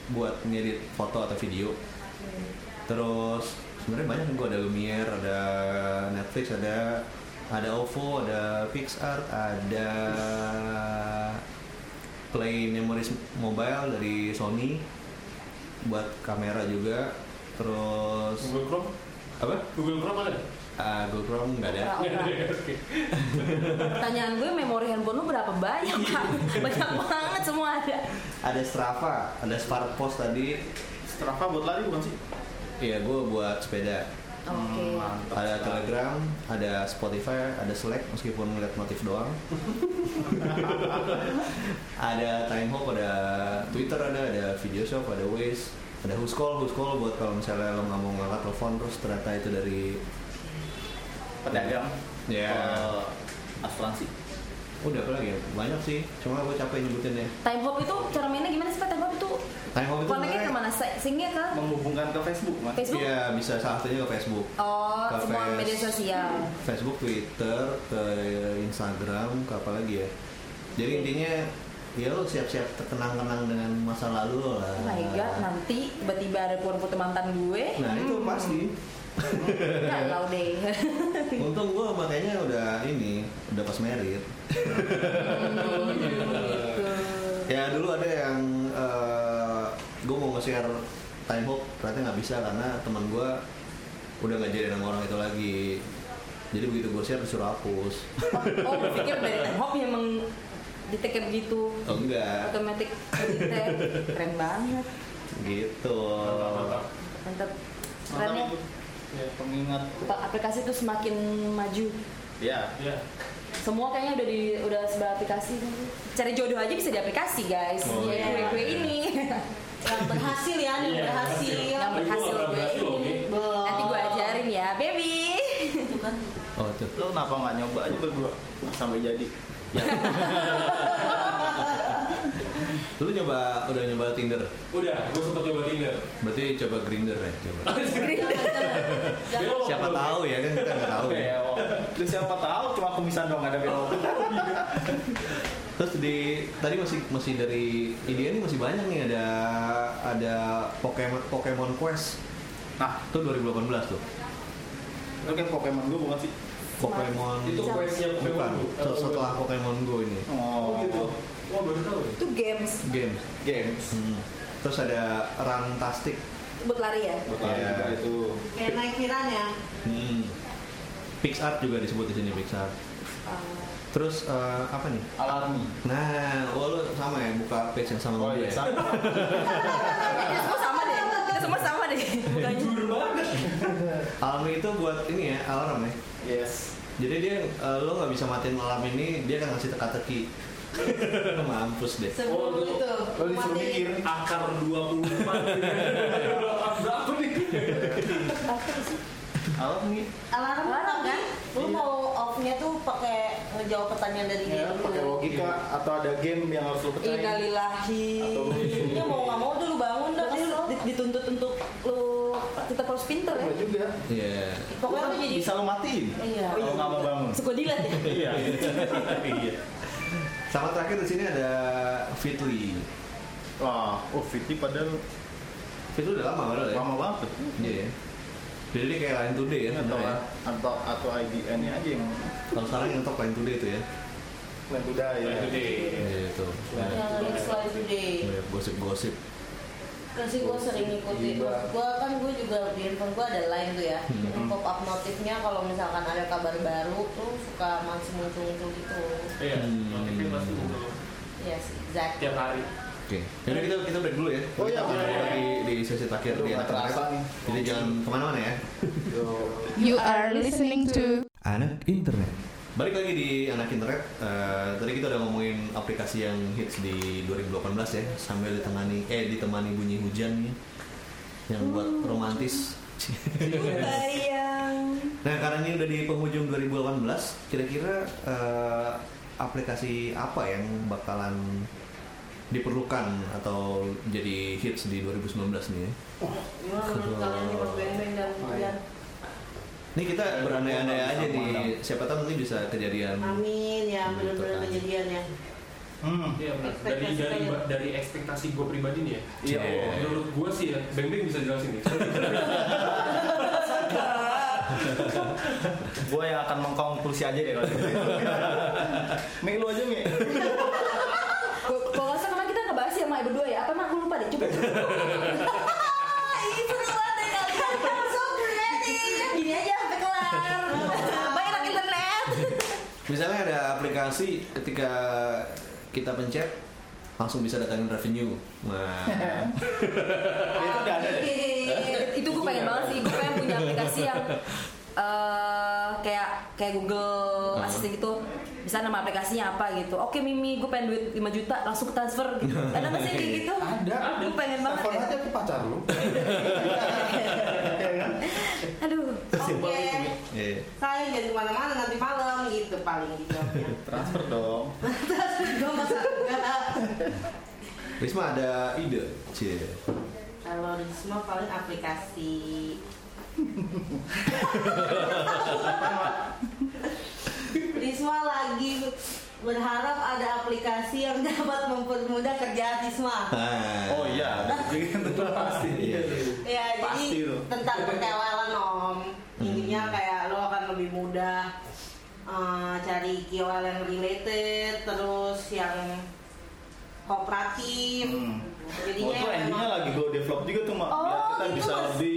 [SPEAKER 3] buat ngedit foto atau video terus sebenarnya banyak gue ada Lumiere ada Netflix ada ada OVO ada PixArt ada Play Memories Mobile dari Sony buat kamera juga terus
[SPEAKER 7] Google Chrome?
[SPEAKER 3] apa
[SPEAKER 7] Google Chrome ada?
[SPEAKER 3] Ah, GoPro nggak ada
[SPEAKER 5] Nggak ada.
[SPEAKER 7] Oke.
[SPEAKER 5] Nah, pertanyaan gue memori handphone lu berapa banyak Pak banyak banget semua ada
[SPEAKER 3] ada Strava ada Sparkpost tadi
[SPEAKER 6] Strava buat lari bukan sih?
[SPEAKER 3] Iya, gue buat sepeda.
[SPEAKER 5] oke
[SPEAKER 6] Hmm, mantap.
[SPEAKER 3] Ada Telegram, ada Spotify, ada Slack meskipun ngeliat notif doang. ada Timehop, ada Twitter, ada ada Video Shop, ada Waze, ada Whoscall, Whoscall buat kalau misalnya lo nggak mau ngangkat telepon terus ternyata itu dari
[SPEAKER 6] Pedagang.
[SPEAKER 3] Ya.
[SPEAKER 6] Eh, Asuransi.
[SPEAKER 3] udah apa lagi ya? banyak sih cuma gue capek nyebutinnya
[SPEAKER 5] time hop itu cara mainnya gimana sih Pak time hop itu
[SPEAKER 3] Timehop itu
[SPEAKER 5] koneknya
[SPEAKER 3] sebenarnya-
[SPEAKER 5] kemana singnya ke
[SPEAKER 6] Menghubungkan ke Facebook, Mas.
[SPEAKER 5] Facebook
[SPEAKER 3] Iya bisa salah satunya ke Facebook
[SPEAKER 5] Oh,
[SPEAKER 3] Ke
[SPEAKER 5] semua
[SPEAKER 3] Face-
[SPEAKER 5] media sosial.
[SPEAKER 3] Facebook, Twitter, ke Instagram, ke apa lagi ya. Jadi intinya ya lo siap-siap terkenang-kenang dengan masa lalu lo lah.
[SPEAKER 5] Oh my god, Hmm. nanti tiba-tiba ada foto mantan gue.
[SPEAKER 3] Nah itu pasti.
[SPEAKER 5] Enggak lau deh.
[SPEAKER 3] Untung gue makanya udah ini udah pas merit.
[SPEAKER 5] Hmm,
[SPEAKER 3] Ya
[SPEAKER 5] gitu.
[SPEAKER 3] dulu ada yang gue mau nge-share time hop ternyata nggak bisa karena teman gue udah nggak jadi sama orang itu lagi. Jadi begitu gue share disuruh hapus.
[SPEAKER 5] oh, gue pikir dari time hop memang ditekan gitu.
[SPEAKER 3] Oh enggak,
[SPEAKER 5] Otomatis editan. Keren banget.
[SPEAKER 3] gitu.
[SPEAKER 7] Mantap,
[SPEAKER 5] Oh.
[SPEAKER 7] mantap.
[SPEAKER 5] Mantap. Keren
[SPEAKER 6] Mantap
[SPEAKER 5] ya.
[SPEAKER 6] itu. Ya, pengingat.
[SPEAKER 5] Aplikasi itu semakin maju.
[SPEAKER 6] Ya.
[SPEAKER 7] Iya.
[SPEAKER 5] Semua kayaknya udah di udah sebelah aplikasi. Cari jodoh aja bisa di aplikasi, guys.
[SPEAKER 3] Oh,
[SPEAKER 5] Iya,
[SPEAKER 3] iya.
[SPEAKER 5] gue-gue ini.
[SPEAKER 4] Yang berhasil ya, yang
[SPEAKER 7] Iya,
[SPEAKER 4] berhasil.
[SPEAKER 7] berhasil.
[SPEAKER 5] Yang
[SPEAKER 7] Tapi gue
[SPEAKER 5] berhasil
[SPEAKER 7] nggak
[SPEAKER 5] gue
[SPEAKER 7] berhasil loh,
[SPEAKER 5] ini.
[SPEAKER 7] Mi.
[SPEAKER 4] Belum.
[SPEAKER 5] Nanti gue ajarin ya, baby.
[SPEAKER 4] Itu kan.
[SPEAKER 3] Oh tuh.
[SPEAKER 6] Lo kenapa nggak nyoba aja berdua sampai jadi? Ya.
[SPEAKER 3] Lu nyoba udah nyoba Tinder?
[SPEAKER 7] Udah, gue sempat coba Tinder.
[SPEAKER 3] Berarti coba Grinder ya? Coba.
[SPEAKER 7] Dia waktu-
[SPEAKER 3] Siapa tahu ya kan kita nggak tahu ya.
[SPEAKER 7] Iya.
[SPEAKER 6] Kayak, wah, Lu siapa tahu cuma kumisan doang ada belok.
[SPEAKER 3] Terus di tadi masih masih dari IDN ini masih banyak nih ada ada Pokemon Pokemon Quest
[SPEAKER 6] Nah,
[SPEAKER 3] itu 2018 tuh.
[SPEAKER 6] lu kayak Pokemon gue bukan sih?
[SPEAKER 3] Pokemon
[SPEAKER 7] Itu questnya Pokemon
[SPEAKER 3] bukan
[SPEAKER 7] Go.
[SPEAKER 3] se- setelah Pokemon Go ini
[SPEAKER 7] Oh gitu. Wah baru tahu. ya.
[SPEAKER 5] Itu games
[SPEAKER 3] game.
[SPEAKER 6] Games.
[SPEAKER 3] Hmm. Terus ada Runtastic.
[SPEAKER 5] buat lari ya.
[SPEAKER 6] Buat lari
[SPEAKER 3] Iya.
[SPEAKER 6] juga itu.
[SPEAKER 4] Kayak naik Miran ya.
[SPEAKER 3] Hmm. PixArt juga disebut di sini PixArt. Terus eh, apa nih?
[SPEAKER 6] Alarmi.
[SPEAKER 3] Nah, oh, lu sama ya buka page yang sama
[SPEAKER 6] Oh
[SPEAKER 3] gue
[SPEAKER 6] iya,
[SPEAKER 3] ya.
[SPEAKER 6] sama.
[SPEAKER 5] Kita semua sama deh. Kita semua sama deh. Bukannya.
[SPEAKER 7] Jujur banget.
[SPEAKER 5] Iya.
[SPEAKER 3] Alarm itu buat ini ya, alarm ya.
[SPEAKER 6] Yes.
[SPEAKER 3] Jadi dia eh, lo nggak bisa matiin alarm ini, dia akan ngasih teka-teki. Mampus deh.
[SPEAKER 4] Sebelum
[SPEAKER 7] Oh,
[SPEAKER 4] itu.
[SPEAKER 6] Lo disuruh
[SPEAKER 4] mati.
[SPEAKER 6] mikir.
[SPEAKER 7] Akar 24. Berapa nih?
[SPEAKER 6] Alarmi.
[SPEAKER 4] Alarm
[SPEAKER 5] Alarm,
[SPEAKER 4] alarm
[SPEAKER 5] kan?
[SPEAKER 4] kan? Lu
[SPEAKER 6] Iya.
[SPEAKER 4] mau off-nya tuh pakai ngejawab pertanyaan dari dia.
[SPEAKER 6] Ya, lu pakai logika atau ada game yang harus lu
[SPEAKER 5] Iya,
[SPEAKER 6] pecahin.
[SPEAKER 5] Innalillahi.
[SPEAKER 6] Atau lu
[SPEAKER 4] Iya,
[SPEAKER 5] Ya mau nggak mau tuh lu bangun dah. Jadi lu
[SPEAKER 4] Kesel.
[SPEAKER 5] di- dituntut untuk lu tetap harus pinter ya.
[SPEAKER 6] Gua juga.
[SPEAKER 3] Iya.
[SPEAKER 4] Pokoknya lu jadi
[SPEAKER 6] Bisa lu matiin.
[SPEAKER 4] Iya.
[SPEAKER 6] Kalau nggak mau bangun.
[SPEAKER 5] Oh, Suka dilat ya.
[SPEAKER 6] Iya.
[SPEAKER 7] Iya.
[SPEAKER 3] Sama terakhir di sini ada Fitly.
[SPEAKER 6] Wah, oh Fitri padahal
[SPEAKER 3] Fitly udah lama padahal ya.
[SPEAKER 6] lama banget. Iya,
[SPEAKER 3] Iya. ya. Jadi dia kayak Line Today ya.
[SPEAKER 6] Ini atau
[SPEAKER 3] sebenarnya.
[SPEAKER 6] atau atau IDN-nya aja yang
[SPEAKER 3] Kalau sekarang yang top Line Today itu ya.
[SPEAKER 6] lain udah ya.
[SPEAKER 7] Nah, itu deh.
[SPEAKER 3] Iya itu.
[SPEAKER 6] Nah,
[SPEAKER 3] Banyak-
[SPEAKER 4] Yang link Ya, slide today.
[SPEAKER 3] Banyak gosip-gosip.
[SPEAKER 4] Terus sih gue sering ngikutin.
[SPEAKER 6] Gila.
[SPEAKER 4] Gue kan gue juga di handphone gue ada line tuh ya.
[SPEAKER 3] Hmm.
[SPEAKER 4] Pop up notifnya kalau misalkan ada kabar baru tuh suka masih muncul-muncul gitu.
[SPEAKER 7] Iya.
[SPEAKER 3] Hmm.
[SPEAKER 7] Notifnya pasti muncul
[SPEAKER 4] Yes, exact.
[SPEAKER 7] tiap hari.
[SPEAKER 3] Oke. Jadi kita kita break dulu ya.
[SPEAKER 6] Oh iya,
[SPEAKER 3] Kita
[SPEAKER 6] boleh.
[SPEAKER 3] di, di sesi terakhir
[SPEAKER 6] Aduh,
[SPEAKER 3] di
[SPEAKER 6] nggak
[SPEAKER 3] anak anak.
[SPEAKER 6] terasa nih.
[SPEAKER 3] Jadi jangan kemana-mana ya.
[SPEAKER 6] Yo.
[SPEAKER 1] You are listening to
[SPEAKER 3] Anak internet. Balik lagi di anak internet. Eh, tadi kita udah ngomongin aplikasi yang hits di 2018 ya, sambil ditemani eh ditemani bunyi hujan ya, yang buat romantis.
[SPEAKER 5] Bayang.
[SPEAKER 3] Nah karena ini udah di penghujung 2018, kira-kira eh, aplikasi apa yang bakalan diperlukan atau jadi hits di 2019 nih ya?
[SPEAKER 4] Gimana menurut kalian nih Mas Beng-Beng
[SPEAKER 6] Iya.
[SPEAKER 4] dan Budian?
[SPEAKER 3] Ini kita berandai-andai aja nih, siapa tahu nanti bisa kejadian.
[SPEAKER 4] Amin ya, benar-benar kejadian ya.
[SPEAKER 6] Hmm.
[SPEAKER 7] Iya benar. Dari dari dari ekspektasi gue pribadi nih ya.
[SPEAKER 6] Iya.
[SPEAKER 3] Iya.
[SPEAKER 7] Menurut gue sih ya, Beng Beng bisa jelasin nih.
[SPEAKER 6] Gue yang akan mengkonklusi aja deh kalau gitu. Mik lu aja Mik.
[SPEAKER 5] Kok nggak salah kemarin kita ngebahas ya Mai berdua ya. Apa Mak? Aku lupa deh. Coba.
[SPEAKER 4] Ih, seru banget ya kalian. I'm so ready.
[SPEAKER 5] Gini aja sampai kelar. Bayang anak internet.
[SPEAKER 3] Misalnya ada aplikasi ketika kita pencet langsung bisa datangin revenue. Nah,
[SPEAKER 6] Itu udah ada deh. Iya.
[SPEAKER 5] itu gue pengen banget sih gue pengen punya aplikasi yang eh kayak kayak
[SPEAKER 6] Hmm.
[SPEAKER 5] Google Assistant gitu bisa nama aplikasinya apa gitu oke Mimi gue pengen duit 5 juta langsung transfer gitu ada nggak sih kayak gitu
[SPEAKER 6] Ada.
[SPEAKER 5] gue pengen banget
[SPEAKER 6] Telepon
[SPEAKER 5] ya.
[SPEAKER 6] aja ke pacar lu.
[SPEAKER 5] aduh
[SPEAKER 4] Oke.
[SPEAKER 3] eh,
[SPEAKER 4] Kalian jangan kemana-mana nanti malam gitu paling gitu.
[SPEAKER 6] Transfer dong.
[SPEAKER 4] Gak masalah.
[SPEAKER 3] Risma ada ide. Cie.
[SPEAKER 4] Kalau Risma paling aplikasi Risma lagi berharap ada aplikasi yang dapat mempermudah kerjaan Risma.
[SPEAKER 3] Ah.
[SPEAKER 6] Oh iya, itu pasti.
[SPEAKER 3] Iya.
[SPEAKER 4] Ya,
[SPEAKER 6] Pasti
[SPEAKER 4] jadi
[SPEAKER 6] tuh. Hmm.
[SPEAKER 4] tentang perkenalan Om. Intinya kayak lo akan lebih mudah eh, cari KOL yang related, terus yang kooperatif.
[SPEAKER 6] Hmm.
[SPEAKER 4] Jadinya
[SPEAKER 6] Oh, itu endingnya
[SPEAKER 4] emang-
[SPEAKER 6] lagi go develop juga tuh, Mak. Biar
[SPEAKER 4] Oh,
[SPEAKER 6] kita
[SPEAKER 4] gitu,
[SPEAKER 6] bisa
[SPEAKER 4] Mas.
[SPEAKER 6] lebih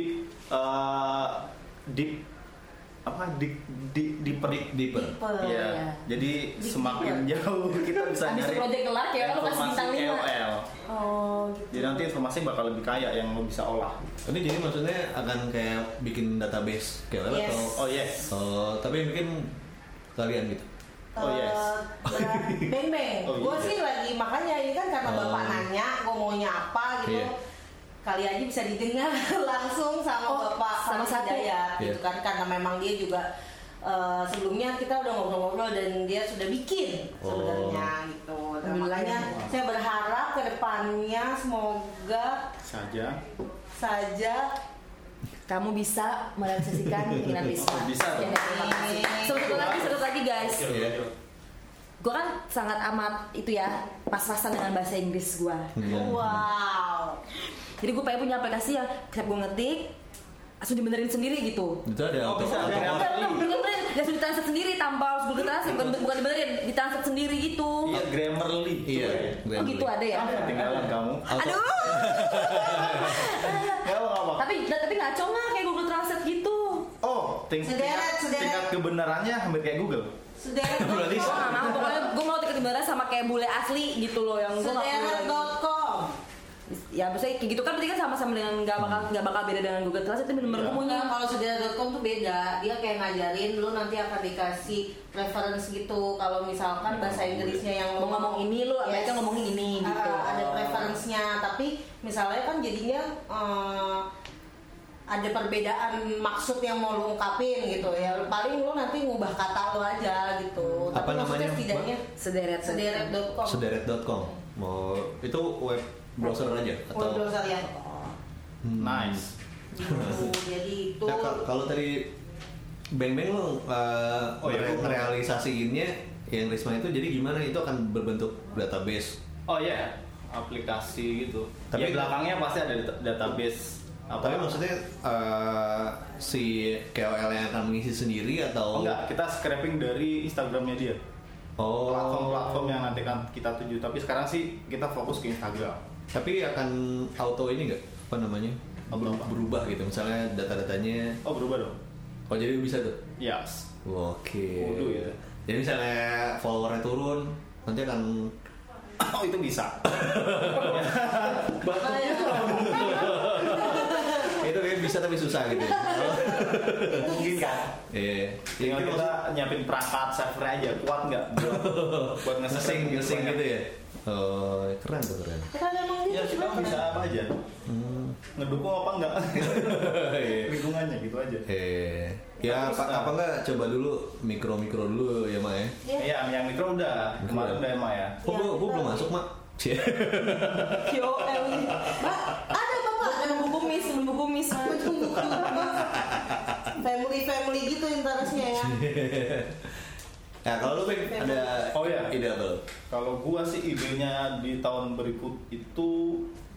[SPEAKER 6] eh, deep apa deep deep deeper.
[SPEAKER 3] Deeper.
[SPEAKER 4] Deeper,
[SPEAKER 6] Iya.
[SPEAKER 4] ya.
[SPEAKER 6] Jadi semakin jauh kita bisa
[SPEAKER 5] abis itu
[SPEAKER 6] nyari
[SPEAKER 5] project kelar ya kalau kasih
[SPEAKER 6] informasi
[SPEAKER 5] bintang 5
[SPEAKER 6] KOL.
[SPEAKER 5] oh gitu
[SPEAKER 6] Jadi nanti informasi bakal lebih kaya yang lo bisa olah.
[SPEAKER 3] Ini jadi maksudnya akan kayak bikin database kayak lewat
[SPEAKER 4] Yes.
[SPEAKER 3] atau
[SPEAKER 6] Oh yes.
[SPEAKER 3] oh, tapi yang bikin kalian gitu.
[SPEAKER 6] Oh, yes.
[SPEAKER 4] Eh, ya, Beng beng,
[SPEAKER 6] Oh,
[SPEAKER 4] gue
[SPEAKER 6] iya.
[SPEAKER 4] sih lagi makanya ini kan karena
[SPEAKER 3] Oh.
[SPEAKER 4] bapak nanya gue maunya apa gitu.
[SPEAKER 3] Iya.
[SPEAKER 4] Kali aja bisa didengar langsung sama
[SPEAKER 5] Oh,
[SPEAKER 4] bapak
[SPEAKER 5] sama
[SPEAKER 4] Farid
[SPEAKER 5] satu.
[SPEAKER 4] Hidayat,
[SPEAKER 3] Iya.
[SPEAKER 4] gitu kan karena memang dia juga eh, sebelumnya kita udah ngobrol-ngobrol dan dia sudah bikin
[SPEAKER 3] Oh.
[SPEAKER 4] sebenarnya gitu. Nah,
[SPEAKER 5] Alhamdulillah.
[SPEAKER 4] makanya saya berharap kedepannya semoga
[SPEAKER 6] saja
[SPEAKER 4] Oh. saja
[SPEAKER 5] Kamu bisa merealisasikan keinginan Risma. Ya,
[SPEAKER 6] Bisa, dong.
[SPEAKER 5] terima kasih. Satu lagi, satu lagi guys.
[SPEAKER 7] Oke, oke, oke.
[SPEAKER 3] Iya.
[SPEAKER 5] Gue kan sangat amat itu ya pas-pasan dengan bahasa Inggris gue.
[SPEAKER 3] Iya.
[SPEAKER 4] wow.
[SPEAKER 5] Jadi gue pengen punya aplikasi yang setiap gue ngetik langsung dibenerin sendiri gitu.
[SPEAKER 3] Itu ada
[SPEAKER 6] Oh,
[SPEAKER 3] auto
[SPEAKER 6] bisa,
[SPEAKER 3] auto
[SPEAKER 6] ada.
[SPEAKER 3] correct.
[SPEAKER 5] Bener, bener, benerin. Langsung ditranslate sendiri tanpa harus Google Translate bukan, bukan dibenerin, ditranslate sendiri gitu.
[SPEAKER 6] iya grammarly
[SPEAKER 3] Iya.
[SPEAKER 5] Oh gitu ada
[SPEAKER 4] Iya.
[SPEAKER 5] ya.
[SPEAKER 6] ada ketinggalan kamu
[SPEAKER 3] Auto-
[SPEAKER 5] Aduh.
[SPEAKER 6] ya lo apa
[SPEAKER 5] Iya, tapi tapi ngaco nggak kayak Google Translate gitu.
[SPEAKER 6] oh ting-
[SPEAKER 4] Sederet,
[SPEAKER 6] tingkat,
[SPEAKER 4] sederet.
[SPEAKER 6] tingkat kebenarannya hampir kayak Google
[SPEAKER 4] Sederet.com.
[SPEAKER 5] Gue nggak mau. Pokoknya gue mau tiket beneran sama kayak bule asli gitu loh yang gue
[SPEAKER 4] Iya,
[SPEAKER 5] nggak mau.
[SPEAKER 4] Sederet.com.
[SPEAKER 5] Ya maksudnya kayak gitu kan berarti kan sama-sama dengan nggak bakal nggak bakal beda dengan Google Translate itu bener-bener
[SPEAKER 6] Iya.
[SPEAKER 5] gue punya.
[SPEAKER 4] Nah, kalau sederet.com tuh beda, dia kayak ngajarin lu nanti akan dikasih preference gitu. Kalau misalkan bahasa Inggrisnya yang
[SPEAKER 5] Iya, Mau ngomong ini lu,
[SPEAKER 4] Yes.
[SPEAKER 5] mereka ngomongin ini gitu.
[SPEAKER 4] Ah, ada preference-nya, tapi misalnya kan jadinya eh, ada perbedaan maksud yang mau lu ungkapin gitu ya. Paling lu nanti ngubah kata lu aja gitu.
[SPEAKER 5] Hmm.
[SPEAKER 3] Apa
[SPEAKER 4] tapi maksudnya
[SPEAKER 3] namanya,
[SPEAKER 4] setidaknya
[SPEAKER 5] Sederet
[SPEAKER 4] sederet.com.
[SPEAKER 3] sederet.com. Mau itu web browser aja atau
[SPEAKER 4] Web browser ya.
[SPEAKER 3] Hmm.
[SPEAKER 6] nice
[SPEAKER 4] Gitu, Jadi itu
[SPEAKER 6] Ya,
[SPEAKER 3] Nah, ka- kalau tadi beng-beng lo uh,
[SPEAKER 6] Oh, iya.
[SPEAKER 3] realisasiinnya yang Risma itu jadi gimana itu akan berbentuk database
[SPEAKER 6] oh iya aplikasi gitu
[SPEAKER 3] Tapi-
[SPEAKER 6] tapi belakangnya pasti ada dat- database apa
[SPEAKER 3] tapi ya, maksudnya uh, si KOL yang akan mengisi sendiri
[SPEAKER 6] Oh,
[SPEAKER 3] atau
[SPEAKER 6] enggak, kita scraping dari Instagramnya dia.
[SPEAKER 3] oh
[SPEAKER 6] Platform-platform yang nanti kan kita tuju. Tapi sekarang sih kita fokus ke Instagram.
[SPEAKER 3] tapi akan auto ini enggak apa namanya
[SPEAKER 6] Auto
[SPEAKER 3] Ber-
[SPEAKER 6] apa?
[SPEAKER 3] berubah gitu misalnya data-datanya
[SPEAKER 6] Oh berubah dong?
[SPEAKER 3] oh jadi bisa tuh
[SPEAKER 6] Yes.
[SPEAKER 3] oke
[SPEAKER 6] Waduh, ya.
[SPEAKER 3] jadi misalnya followernya turun nanti akan
[SPEAKER 6] Oh itu bisa.
[SPEAKER 4] Makanya-
[SPEAKER 3] itu kayak bisa tapi susah gitu
[SPEAKER 6] Mungkin kan?
[SPEAKER 3] Iya. Ya,
[SPEAKER 6] Tinggal
[SPEAKER 3] itu
[SPEAKER 6] kita nyiapin perangkat server aja. Kuat nggak buat buat
[SPEAKER 3] ngesing
[SPEAKER 6] nge-scraping
[SPEAKER 3] ngesing
[SPEAKER 6] banyak.
[SPEAKER 3] gitu ya oh keren tuh keren
[SPEAKER 4] Kan emang
[SPEAKER 6] Ya
[SPEAKER 4] gitu
[SPEAKER 6] kita
[SPEAKER 4] cuma
[SPEAKER 6] bisa apa aja.
[SPEAKER 3] Hmm.
[SPEAKER 6] Ngedukung apa enggak? Oh, Lingkungannya gitu aja.
[SPEAKER 3] eh ya apa, apa enggak coba dulu mikro mikro dulu ya mak ya
[SPEAKER 6] Iya, yang mikro udah. Kemarin
[SPEAKER 3] Mikro.
[SPEAKER 6] udah emang ya.
[SPEAKER 3] oh gua, gua belum masuk mak Cie.
[SPEAKER 4] Yo, Eli. Mbak, ada bapak ada buku mis, buku mis. family family gitu interestnya ya.
[SPEAKER 3] nah kalau lu Bing, ada
[SPEAKER 6] Oh, iya.
[SPEAKER 3] ide apa lu?
[SPEAKER 6] Kalau gua sih idenya di tahun berikut itu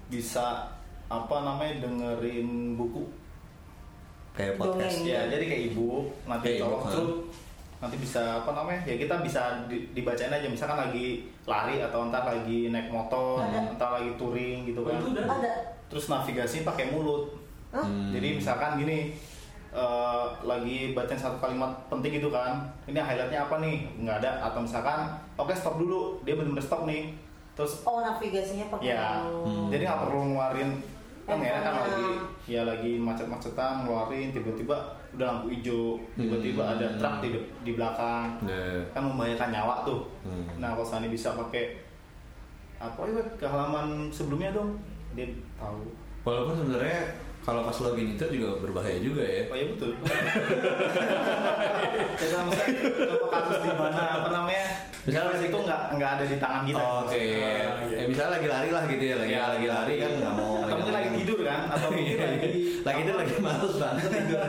[SPEAKER 6] bisa apa namanya dengerin buku.
[SPEAKER 3] kayak podcast
[SPEAKER 5] Dongeng.
[SPEAKER 6] Ya, jadi kayak ibu nanti
[SPEAKER 3] Iya. Kayak
[SPEAKER 6] tolong
[SPEAKER 3] e-book,
[SPEAKER 6] terus nanti bisa apa namanya ya kita bisa di- dibacain aja misalkan lagi lari atau entar lagi naik motor
[SPEAKER 3] Iya.
[SPEAKER 4] Ada.
[SPEAKER 6] entar lagi touring gitu kan
[SPEAKER 7] Oh, itu udah.
[SPEAKER 4] Ada.
[SPEAKER 6] terus navigasi pakai mulut
[SPEAKER 4] Hah?
[SPEAKER 6] jadi misalkan gini eh, lagi bacain satu kalimat penting gitu kan ini highlightnya apa nih nggak ada atau misalkan oke stop dulu dia benar-benar stop nih terus
[SPEAKER 4] Oh, navigasinya pakai.
[SPEAKER 6] Ya,
[SPEAKER 3] Hmm. Iya.
[SPEAKER 6] jadi nggak perlu ngeluarin kan ya kan
[SPEAKER 4] Handphonenya.
[SPEAKER 6] lagi ya lagi macet-macetan ngeluarin tiba-tiba udah lampu hijau tiba-tiba
[SPEAKER 3] Hmm.
[SPEAKER 6] ada truk di, di belakang
[SPEAKER 3] Nah.
[SPEAKER 6] kan membahayakan nyawa tuh
[SPEAKER 3] Hmm.
[SPEAKER 6] nah kalau Sani bisa pakai apa ya Web, ke halaman sebelumnya dong dia tahu
[SPEAKER 3] walaupun sebenarnya kalau pas login itu juga berbahaya juga ya
[SPEAKER 6] oh ya betul kita misalnya kalau kasus di mana apa namanya
[SPEAKER 3] Misalnya
[SPEAKER 6] misalnya itu nggak nggak ada di tangan kita
[SPEAKER 3] Oh, oke eh misalnya lagi lari lah gitu ya lagi
[SPEAKER 6] Ya,
[SPEAKER 3] lagi lari kan nggak mau
[SPEAKER 6] atau mungkin lagi tidur kan atau mungkin lagi
[SPEAKER 3] Iya, lagi itu lagi males banget tidur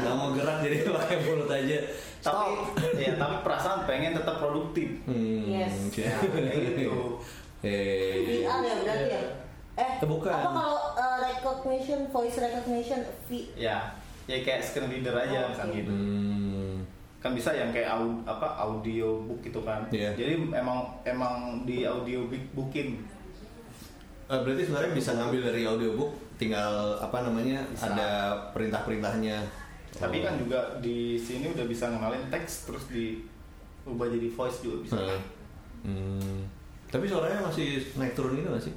[SPEAKER 3] nggak mau gerak jadi pakai mulut aja
[SPEAKER 6] tapi ya tapi perasaan pengen tetap produktif
[SPEAKER 3] hmm,
[SPEAKER 4] Yes.
[SPEAKER 3] oke.
[SPEAKER 6] Kayak gitu.
[SPEAKER 3] eh
[SPEAKER 4] VR ya berarti ya. Eh,
[SPEAKER 3] Eh, bukan.
[SPEAKER 4] apa kalau uh, recognition, voice recognition, V?
[SPEAKER 6] ya ya kayak screen reader
[SPEAKER 4] Oh,
[SPEAKER 6] aja misalnya
[SPEAKER 4] oke.
[SPEAKER 6] gitu
[SPEAKER 3] hmm,
[SPEAKER 6] kan bisa yang kayak au- apa audio book gitu kan
[SPEAKER 3] Iya.
[SPEAKER 6] jadi emang emang di audio book bookin
[SPEAKER 3] eh, berarti sebenarnya bisa ngambil dari audiobook tinggal apa namanya
[SPEAKER 6] Bisa.
[SPEAKER 3] ada perintah-perintahnya Oh.
[SPEAKER 6] tapi kan juga di sini udah bisa ngenalin teks terus diubah jadi voice juga bisa
[SPEAKER 3] Hmm. Hmm. Tapi suaranya masih naik turun itu masih.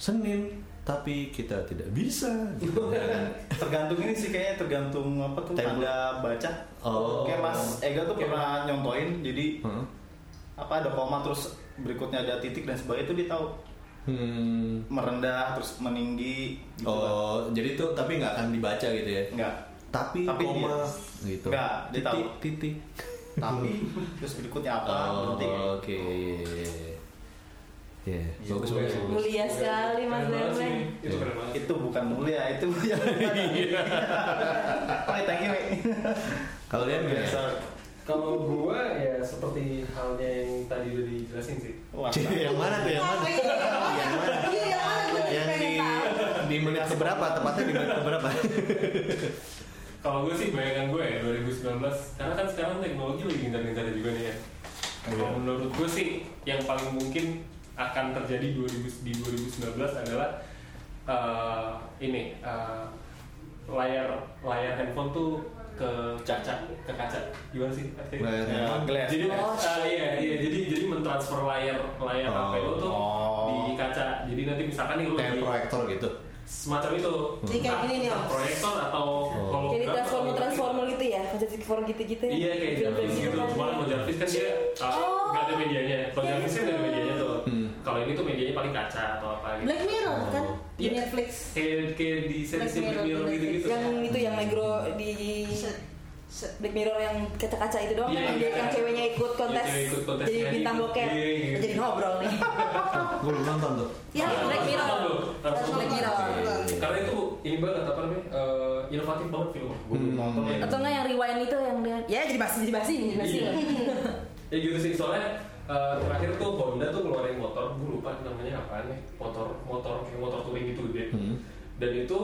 [SPEAKER 3] Senin, tapi kita tidak bisa. Gitu.
[SPEAKER 6] tergantung ini sih kayaknya tergantung apa tuh
[SPEAKER 3] Tempo.
[SPEAKER 6] tanda baca
[SPEAKER 3] Oh. Hmm.
[SPEAKER 6] kayak Mas Ega tuh pernah nyontoin jadi
[SPEAKER 3] Hah?
[SPEAKER 6] apa ada koma terus berikutnya ada titik dan sebagainya itu dia tahu
[SPEAKER 3] Hmm.
[SPEAKER 6] merendah terus meninggi gitu kan.
[SPEAKER 3] Oh, jadi itu tapi nggak akan dibaca gitu ya?
[SPEAKER 6] Enggak.
[SPEAKER 3] tapi,
[SPEAKER 6] Tapi
[SPEAKER 3] koma gitu
[SPEAKER 6] Nggak, dia
[SPEAKER 3] titik
[SPEAKER 6] tahu.
[SPEAKER 3] titik
[SPEAKER 6] tapi terus berikutnya apa
[SPEAKER 3] Oh,
[SPEAKER 6] berhenti kayak
[SPEAKER 3] oke ya
[SPEAKER 6] Iya,
[SPEAKER 3] iya. bagus
[SPEAKER 6] boleh.
[SPEAKER 3] bagus bagus.
[SPEAKER 5] Mulia sekali Mas
[SPEAKER 7] Keren banget sih.
[SPEAKER 5] Bebeng.
[SPEAKER 7] Itu keren banget.
[SPEAKER 6] gitu. itu bukan mulia itu yang Oke, thank you. Wi.
[SPEAKER 3] kalau dia biasa
[SPEAKER 7] Kalau gua ya seperti halnya yang tadi udah dijelasin sih.
[SPEAKER 6] Wah,
[SPEAKER 3] yang mana tuh yang mana
[SPEAKER 4] Iya, yang mana? Iya, yang mana? Gua jadi
[SPEAKER 3] yang di
[SPEAKER 4] pengen tahu.
[SPEAKER 3] di menit keberapa tepatnya di menit keberapa
[SPEAKER 7] Kalau gue sih bayangan gue ya 2019 karena kan sekarang teknologi lagi gencar-gencar juga nih ya. Kalau menurut gue sih yang paling mungkin akan terjadi 2000, di 2019 adalah eh, ini eh, layar layar handphone tuh ke kaca ke kaca gimana sih artinya?
[SPEAKER 3] Bayar
[SPEAKER 6] Ya,
[SPEAKER 3] handphone.
[SPEAKER 6] glass.
[SPEAKER 7] Jadi eh, iya, iya, jadi jadi mentransfer layar layar
[SPEAKER 3] Oh.
[SPEAKER 7] HP lo tuh di kaca. Jadi nanti misalkan nih lo
[SPEAKER 3] kayak
[SPEAKER 7] di-
[SPEAKER 3] proyektor gitu
[SPEAKER 7] semacam itu.
[SPEAKER 4] Jadi kayak gini nih, Om.
[SPEAKER 7] proyektor atau hologram
[SPEAKER 5] Jadi
[SPEAKER 7] atau-
[SPEAKER 5] transformer transformer gitu ya, kerja transformer gitu-gitu. ya?
[SPEAKER 7] Oh, kan. Iya kayak Jarvis gitu. Cuman kalau Jarvis kan dia ah,
[SPEAKER 5] Oh.
[SPEAKER 7] nggak ada medianya. Kalau
[SPEAKER 5] Kayak
[SPEAKER 7] Jarvis kan nggak ada
[SPEAKER 5] gitu.
[SPEAKER 7] medianya tuh.
[SPEAKER 3] Hmm.
[SPEAKER 7] Kalau ini tuh medianya paling kaca atau apa gitu.
[SPEAKER 4] Black Mirror kan di
[SPEAKER 7] Iya.
[SPEAKER 4] Netflix.
[SPEAKER 7] Kayak kayak di series
[SPEAKER 4] Mirror,
[SPEAKER 7] Black Mirror
[SPEAKER 4] Black
[SPEAKER 7] gitu gitu.
[SPEAKER 5] Yang itu yang negro di
[SPEAKER 4] Set, set.
[SPEAKER 5] Black Mirror yang kaca-kaca itu doang
[SPEAKER 7] Iya,
[SPEAKER 5] kan yang
[SPEAKER 7] iya.
[SPEAKER 5] dia- yang ceweknya ikut kontes,
[SPEAKER 7] Yang cewek ikut kontes
[SPEAKER 5] jadi
[SPEAKER 7] nyanyi.
[SPEAKER 5] bintang bokep.
[SPEAKER 7] Iya, iya, iya.
[SPEAKER 5] Jadi ngobrol nih.
[SPEAKER 4] Oh.
[SPEAKER 3] gue belum nonton tuh
[SPEAKER 4] Ya,
[SPEAKER 5] Black Mirror.
[SPEAKER 7] Harus
[SPEAKER 4] Black Mirror.
[SPEAKER 7] Karena itu ini banget apa namanya eh, inovatif banget film. Gua belum
[SPEAKER 3] Hmm.
[SPEAKER 7] nonton ya.
[SPEAKER 5] Atau enggak yang rewind itu yang dia ya jadi basi jadi basi jadi basi.
[SPEAKER 7] Iya. ya gitu sih soalnya eh, terakhir tuh Honda tuh ngeluarin motor gue lupa namanya apaan ya motor motor kayak motor touring gitu dia
[SPEAKER 3] Hmm.
[SPEAKER 7] dan itu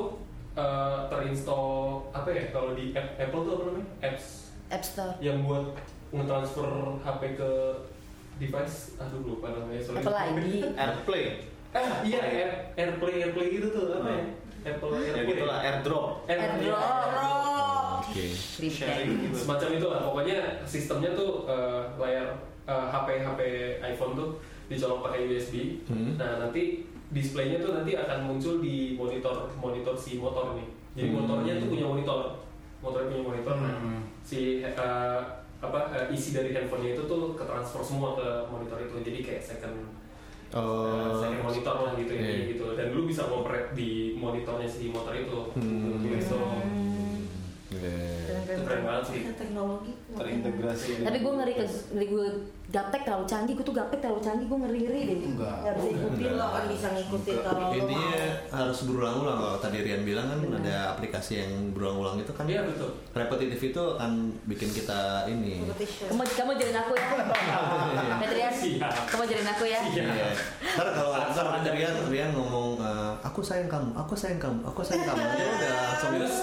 [SPEAKER 7] eh, terinstall apa ya kalau di app- Apple tuh apa namanya apps
[SPEAKER 5] App Store.
[SPEAKER 7] yang buat ngetransfer HP ke device aduh lupa namanya sorry
[SPEAKER 5] Apa lagi?
[SPEAKER 6] Airplay.
[SPEAKER 7] eh iya Air, AirPlay AirPlay gitu tuh apa ya Apple
[SPEAKER 6] Ya
[SPEAKER 7] AirPlay
[SPEAKER 6] gitulah airdrop.
[SPEAKER 5] Airdrop.
[SPEAKER 3] oke
[SPEAKER 5] Kripten.
[SPEAKER 6] Sharing gitu.
[SPEAKER 7] semacam itulah pokoknya sistemnya tuh eh, layar eh, HP HP iPhone tuh dicolok pakai USB
[SPEAKER 3] Hmm.
[SPEAKER 7] nah nanti displaynya tuh nanti akan muncul di monitor monitor si motor nih jadi
[SPEAKER 3] Hmm.
[SPEAKER 7] motornya tuh punya monitor motornya punya monitor nah,
[SPEAKER 6] Hmm.
[SPEAKER 7] si eh, apa eh, isi dari handphonenya itu tuh ke transfer semua ke monitor itu jadi kayak second eh,
[SPEAKER 3] Oh,
[SPEAKER 7] second monitor lah gitu ya
[SPEAKER 3] iya.
[SPEAKER 7] gitu dan lu bisa ngoprek di monitornya si motor itu Gitu,
[SPEAKER 3] Hmm.
[SPEAKER 7] so
[SPEAKER 3] iya.
[SPEAKER 7] itu keren banget sih
[SPEAKER 4] Ada teknologi.
[SPEAKER 6] Terintegrasi.
[SPEAKER 5] Tapi gue ngeri ke ngeri gue gaptek terlalu canggih, gue tuh gaptek terlalu canggih, gue ngeri ngeri deh.
[SPEAKER 6] Enggak.
[SPEAKER 5] Gak bisa ikutin.
[SPEAKER 4] Tapi lo akan bisa ngikutin kalau lo
[SPEAKER 3] intinya
[SPEAKER 4] mau.
[SPEAKER 3] harus berulang-ulang kalau tadi Rian bilang
[SPEAKER 4] Iya.
[SPEAKER 3] kan ada aplikasi yang berulang-ulang itu kan
[SPEAKER 7] iya betul
[SPEAKER 3] repetitif itu akan bikin kita ini
[SPEAKER 4] Competition.
[SPEAKER 5] Kamu kamu ajarin aku ya, Petrian.
[SPEAKER 7] Siap.
[SPEAKER 5] Kamu ajarin aku ya.
[SPEAKER 7] Iya.
[SPEAKER 3] Iya. Ntar kalau ntar ada Rian, Rian ngomong eh, aku sayang kamu, aku sayang kamu, aku sayang kamu. Dia udah langsung
[SPEAKER 7] Terus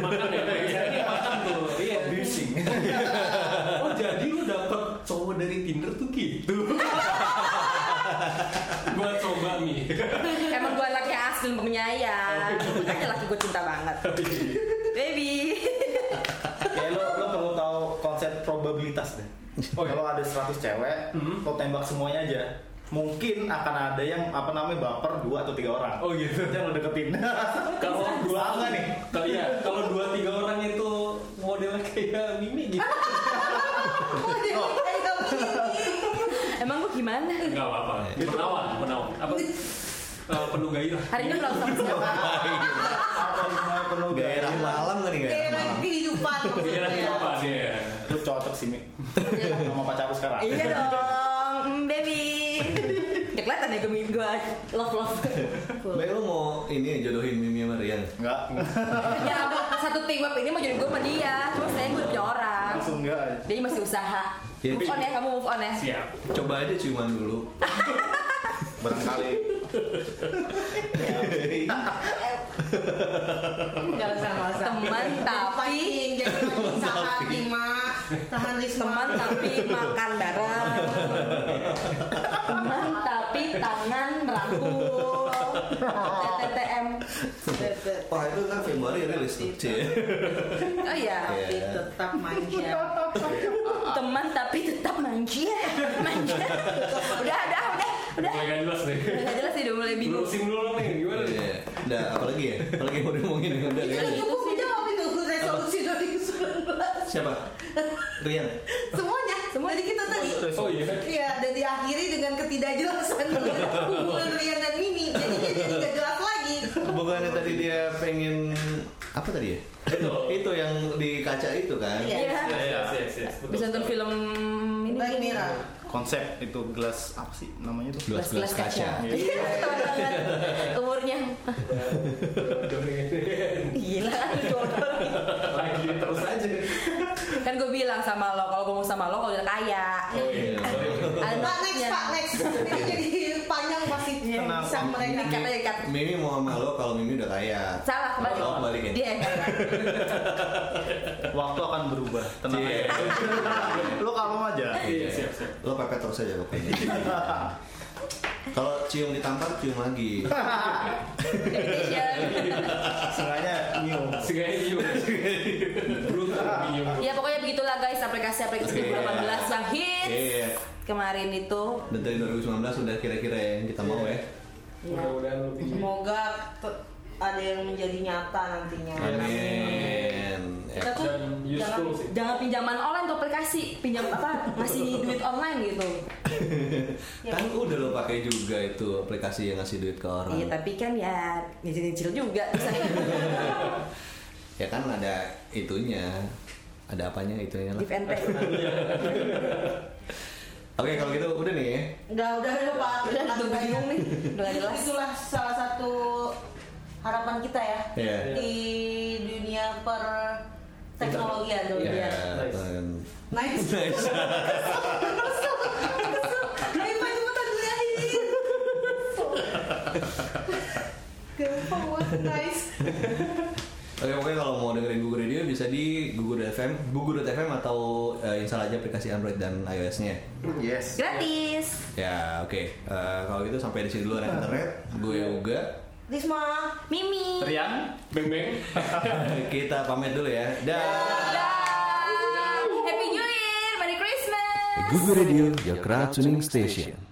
[SPEAKER 7] makan ya, biasanya dia makan tuh. Iya. Oh jadi lu dapet cowok dari Tinder tuh gitu. gua coba mi.
[SPEAKER 5] Emang gue anaknya asli penyayang. Makanya laki gue cinta banget. Baby.
[SPEAKER 6] Kayak Ya, lo, lo perlu tahu konsep probabilitas deh. Kalau ada 100 cewek,
[SPEAKER 7] Hmm.
[SPEAKER 6] lo tembak semuanya aja. Mungkin akan ada yang apa namanya baper dua atau tiga orang.
[SPEAKER 7] Oh, gitu.
[SPEAKER 6] Itu Yang lo deketin.
[SPEAKER 7] Kalau
[SPEAKER 6] dua apa nih?
[SPEAKER 7] kalau iya, kalau dua tiga orang itu modelnya kayak Mimi gitu.
[SPEAKER 4] Oh, dia kayak begini.
[SPEAKER 5] Emang gue gimana?
[SPEAKER 7] Enggak apa-apa. Menawan, menawan. Apa? Eh, penuh gairah.
[SPEAKER 5] Hari ini belum sama siapa?
[SPEAKER 6] Apa namanya penuh
[SPEAKER 3] gairah malam kan nih gairah
[SPEAKER 4] Kayak
[SPEAKER 3] malam.
[SPEAKER 4] kehidupan
[SPEAKER 7] Gairah
[SPEAKER 4] maksudnya.
[SPEAKER 7] apa sih? ya?
[SPEAKER 6] Lo cocok sih, Mi. Sama pacar lo sekarang.
[SPEAKER 5] Iya dong, mm, baby. Gak kelihatan ya gemit gue. Love love.
[SPEAKER 3] Baik lu mau ini jodohin Mimi sama Rian.
[SPEAKER 6] Enggak,
[SPEAKER 5] Ya satu tim ini mau jadi gue sama dia. Cuma saya gue punya orang.
[SPEAKER 6] langsung enggak. aja.
[SPEAKER 5] Dia masih usaha.
[SPEAKER 3] Iya.
[SPEAKER 5] Move on ya, kamu move on ya.
[SPEAKER 4] Iya.
[SPEAKER 7] Siap.
[SPEAKER 3] Coba aja ciuman dulu.
[SPEAKER 6] Barangkali Ya,
[SPEAKER 4] Gak usah, gak usah.
[SPEAKER 5] Teman tapi
[SPEAKER 4] Fighting, jadi tahan lima, tahan risma.
[SPEAKER 5] teman tapi makan bareng. Teman tapi tangan merangkul. TTM.
[SPEAKER 4] Tetep-
[SPEAKER 3] Wah itu kan Februari rilis tuh.
[SPEAKER 7] Iya.
[SPEAKER 3] Cie.
[SPEAKER 5] Oh iya.
[SPEAKER 4] tapi
[SPEAKER 3] Iya.
[SPEAKER 4] tetap manja.
[SPEAKER 5] Teman tapi tetap manja. Manja. Udah, udah, udah. Udah.
[SPEAKER 7] Mulai gandas nih.
[SPEAKER 5] Udah jelas sih udah mulai bingung.
[SPEAKER 7] Lurusin dulu nih, gimana nih?
[SPEAKER 3] Iya. Udah apalagi ya? Apalagi yang mau diomongin udah
[SPEAKER 4] Itu
[SPEAKER 3] Rian.
[SPEAKER 4] cukup menjawab itu resolusi 2019.
[SPEAKER 3] Siapa? Rian.
[SPEAKER 4] Semuanya, semua jadi kita tadi.
[SPEAKER 7] Oh iya.
[SPEAKER 4] Iya, dan diakhiri dengan ketidakjelasan hubungan Rian dan Mimi. Jadi dia jadi gak jelas lagi.
[SPEAKER 3] Bukannya tadi dia pengen apa tadi ya?
[SPEAKER 7] Itu.
[SPEAKER 3] itu yang di kaca itu kan.
[SPEAKER 4] Iya.
[SPEAKER 7] Yes, yes, yes, yes, betul.
[SPEAKER 5] Bisa nonton film ini.
[SPEAKER 4] Black Mirror.
[SPEAKER 6] konsep itu gelas apa sih namanya tuh
[SPEAKER 3] Gelas gelas kaca.
[SPEAKER 5] Iya, ketahuan banget umurnya. Gila kan lu jodoh.
[SPEAKER 7] Lagi terus aja.
[SPEAKER 5] Kan gue bilang sama lo, kalau gue mau sama lo kalau udah kaya.
[SPEAKER 7] Oh iya, sorry.
[SPEAKER 4] Pak next, Pak next. Ini jadi panjang pasti
[SPEAKER 6] Tenang,
[SPEAKER 4] bisa
[SPEAKER 6] Om.
[SPEAKER 4] mereka.
[SPEAKER 3] Iya.
[SPEAKER 5] Kata ikat.
[SPEAKER 3] Mimi mau sama lo kalau Mimi udah kaya.
[SPEAKER 5] Salah kembali.
[SPEAKER 3] Oh, kembali ya.
[SPEAKER 5] Dia yang kaya.
[SPEAKER 6] waktu akan berubah tenang
[SPEAKER 3] Cie.
[SPEAKER 6] aja lo Iya. kalem aja
[SPEAKER 7] Iya, siap, siap.
[SPEAKER 3] Lo pepet terus aja pokoknya. kalau cium ditampar cium lagi.
[SPEAKER 5] Imitation.
[SPEAKER 6] sengaja new
[SPEAKER 7] Segaya hiu. Brutal hiu.
[SPEAKER 5] Ya pokoknya begitulah guys aplikasi-aplikasi
[SPEAKER 3] Oke.
[SPEAKER 5] 2018 yang hits.
[SPEAKER 3] Iya.
[SPEAKER 5] Kemarin itu
[SPEAKER 3] Dan dari 2019 udah kira-kira yang kita mau ya.
[SPEAKER 7] Mudah-mudahan lebih.
[SPEAKER 4] Semoga te- ada yang menjadi nyata nantinya.
[SPEAKER 3] Amin. Ya.
[SPEAKER 5] kita tuh
[SPEAKER 7] Dan
[SPEAKER 5] jangan,
[SPEAKER 7] useful sih.
[SPEAKER 5] jangan pinjaman online tuh aplikasi, pinjam apa? Masih duit online gitu.
[SPEAKER 3] Kan udah lo pakai juga itu aplikasi yang ngasih duit ke orang.
[SPEAKER 5] Iya, tapi kan ya nyicil-nyicil juga.
[SPEAKER 3] Ya kan ada itunya. Ada apanya itunya lah.
[SPEAKER 5] Give and take.
[SPEAKER 3] Oke, kalau gitu udah nih ya.
[SPEAKER 4] Udah, udah, udah, Pak. Udah,
[SPEAKER 5] Udah
[SPEAKER 4] nggak
[SPEAKER 5] bingung nih, udah nggak jelas.
[SPEAKER 4] Itulah salah satu harapan kita ya
[SPEAKER 3] Iya.
[SPEAKER 4] di dunia per teknologi ya dong
[SPEAKER 3] Ya,
[SPEAKER 4] ya.
[SPEAKER 7] Nice.
[SPEAKER 3] dan-
[SPEAKER 4] Nice.
[SPEAKER 3] Nice.
[SPEAKER 4] Ayo Pak cepetan dilihatin. Gampang banget, nice.
[SPEAKER 3] Oke, pokoknya kalau mau dengerin Gugur Radio bisa di Gugur FM, Gugur FM atau eh, install aja aplikasi Android dan iOS-nya.
[SPEAKER 6] yes
[SPEAKER 5] Gratis.
[SPEAKER 3] Ya, oke. Eh, kalau gitu sampai di sini dulu anak internet. Gue Yoga.
[SPEAKER 4] Risma.
[SPEAKER 5] Mimi.
[SPEAKER 6] Rian
[SPEAKER 7] Beng beng.
[SPEAKER 3] Kita pamit dulu ya. Dah.
[SPEAKER 5] Dadah. Happy New Year, Merry Christmas.
[SPEAKER 3] Gugur Radio, your crowd tuning station.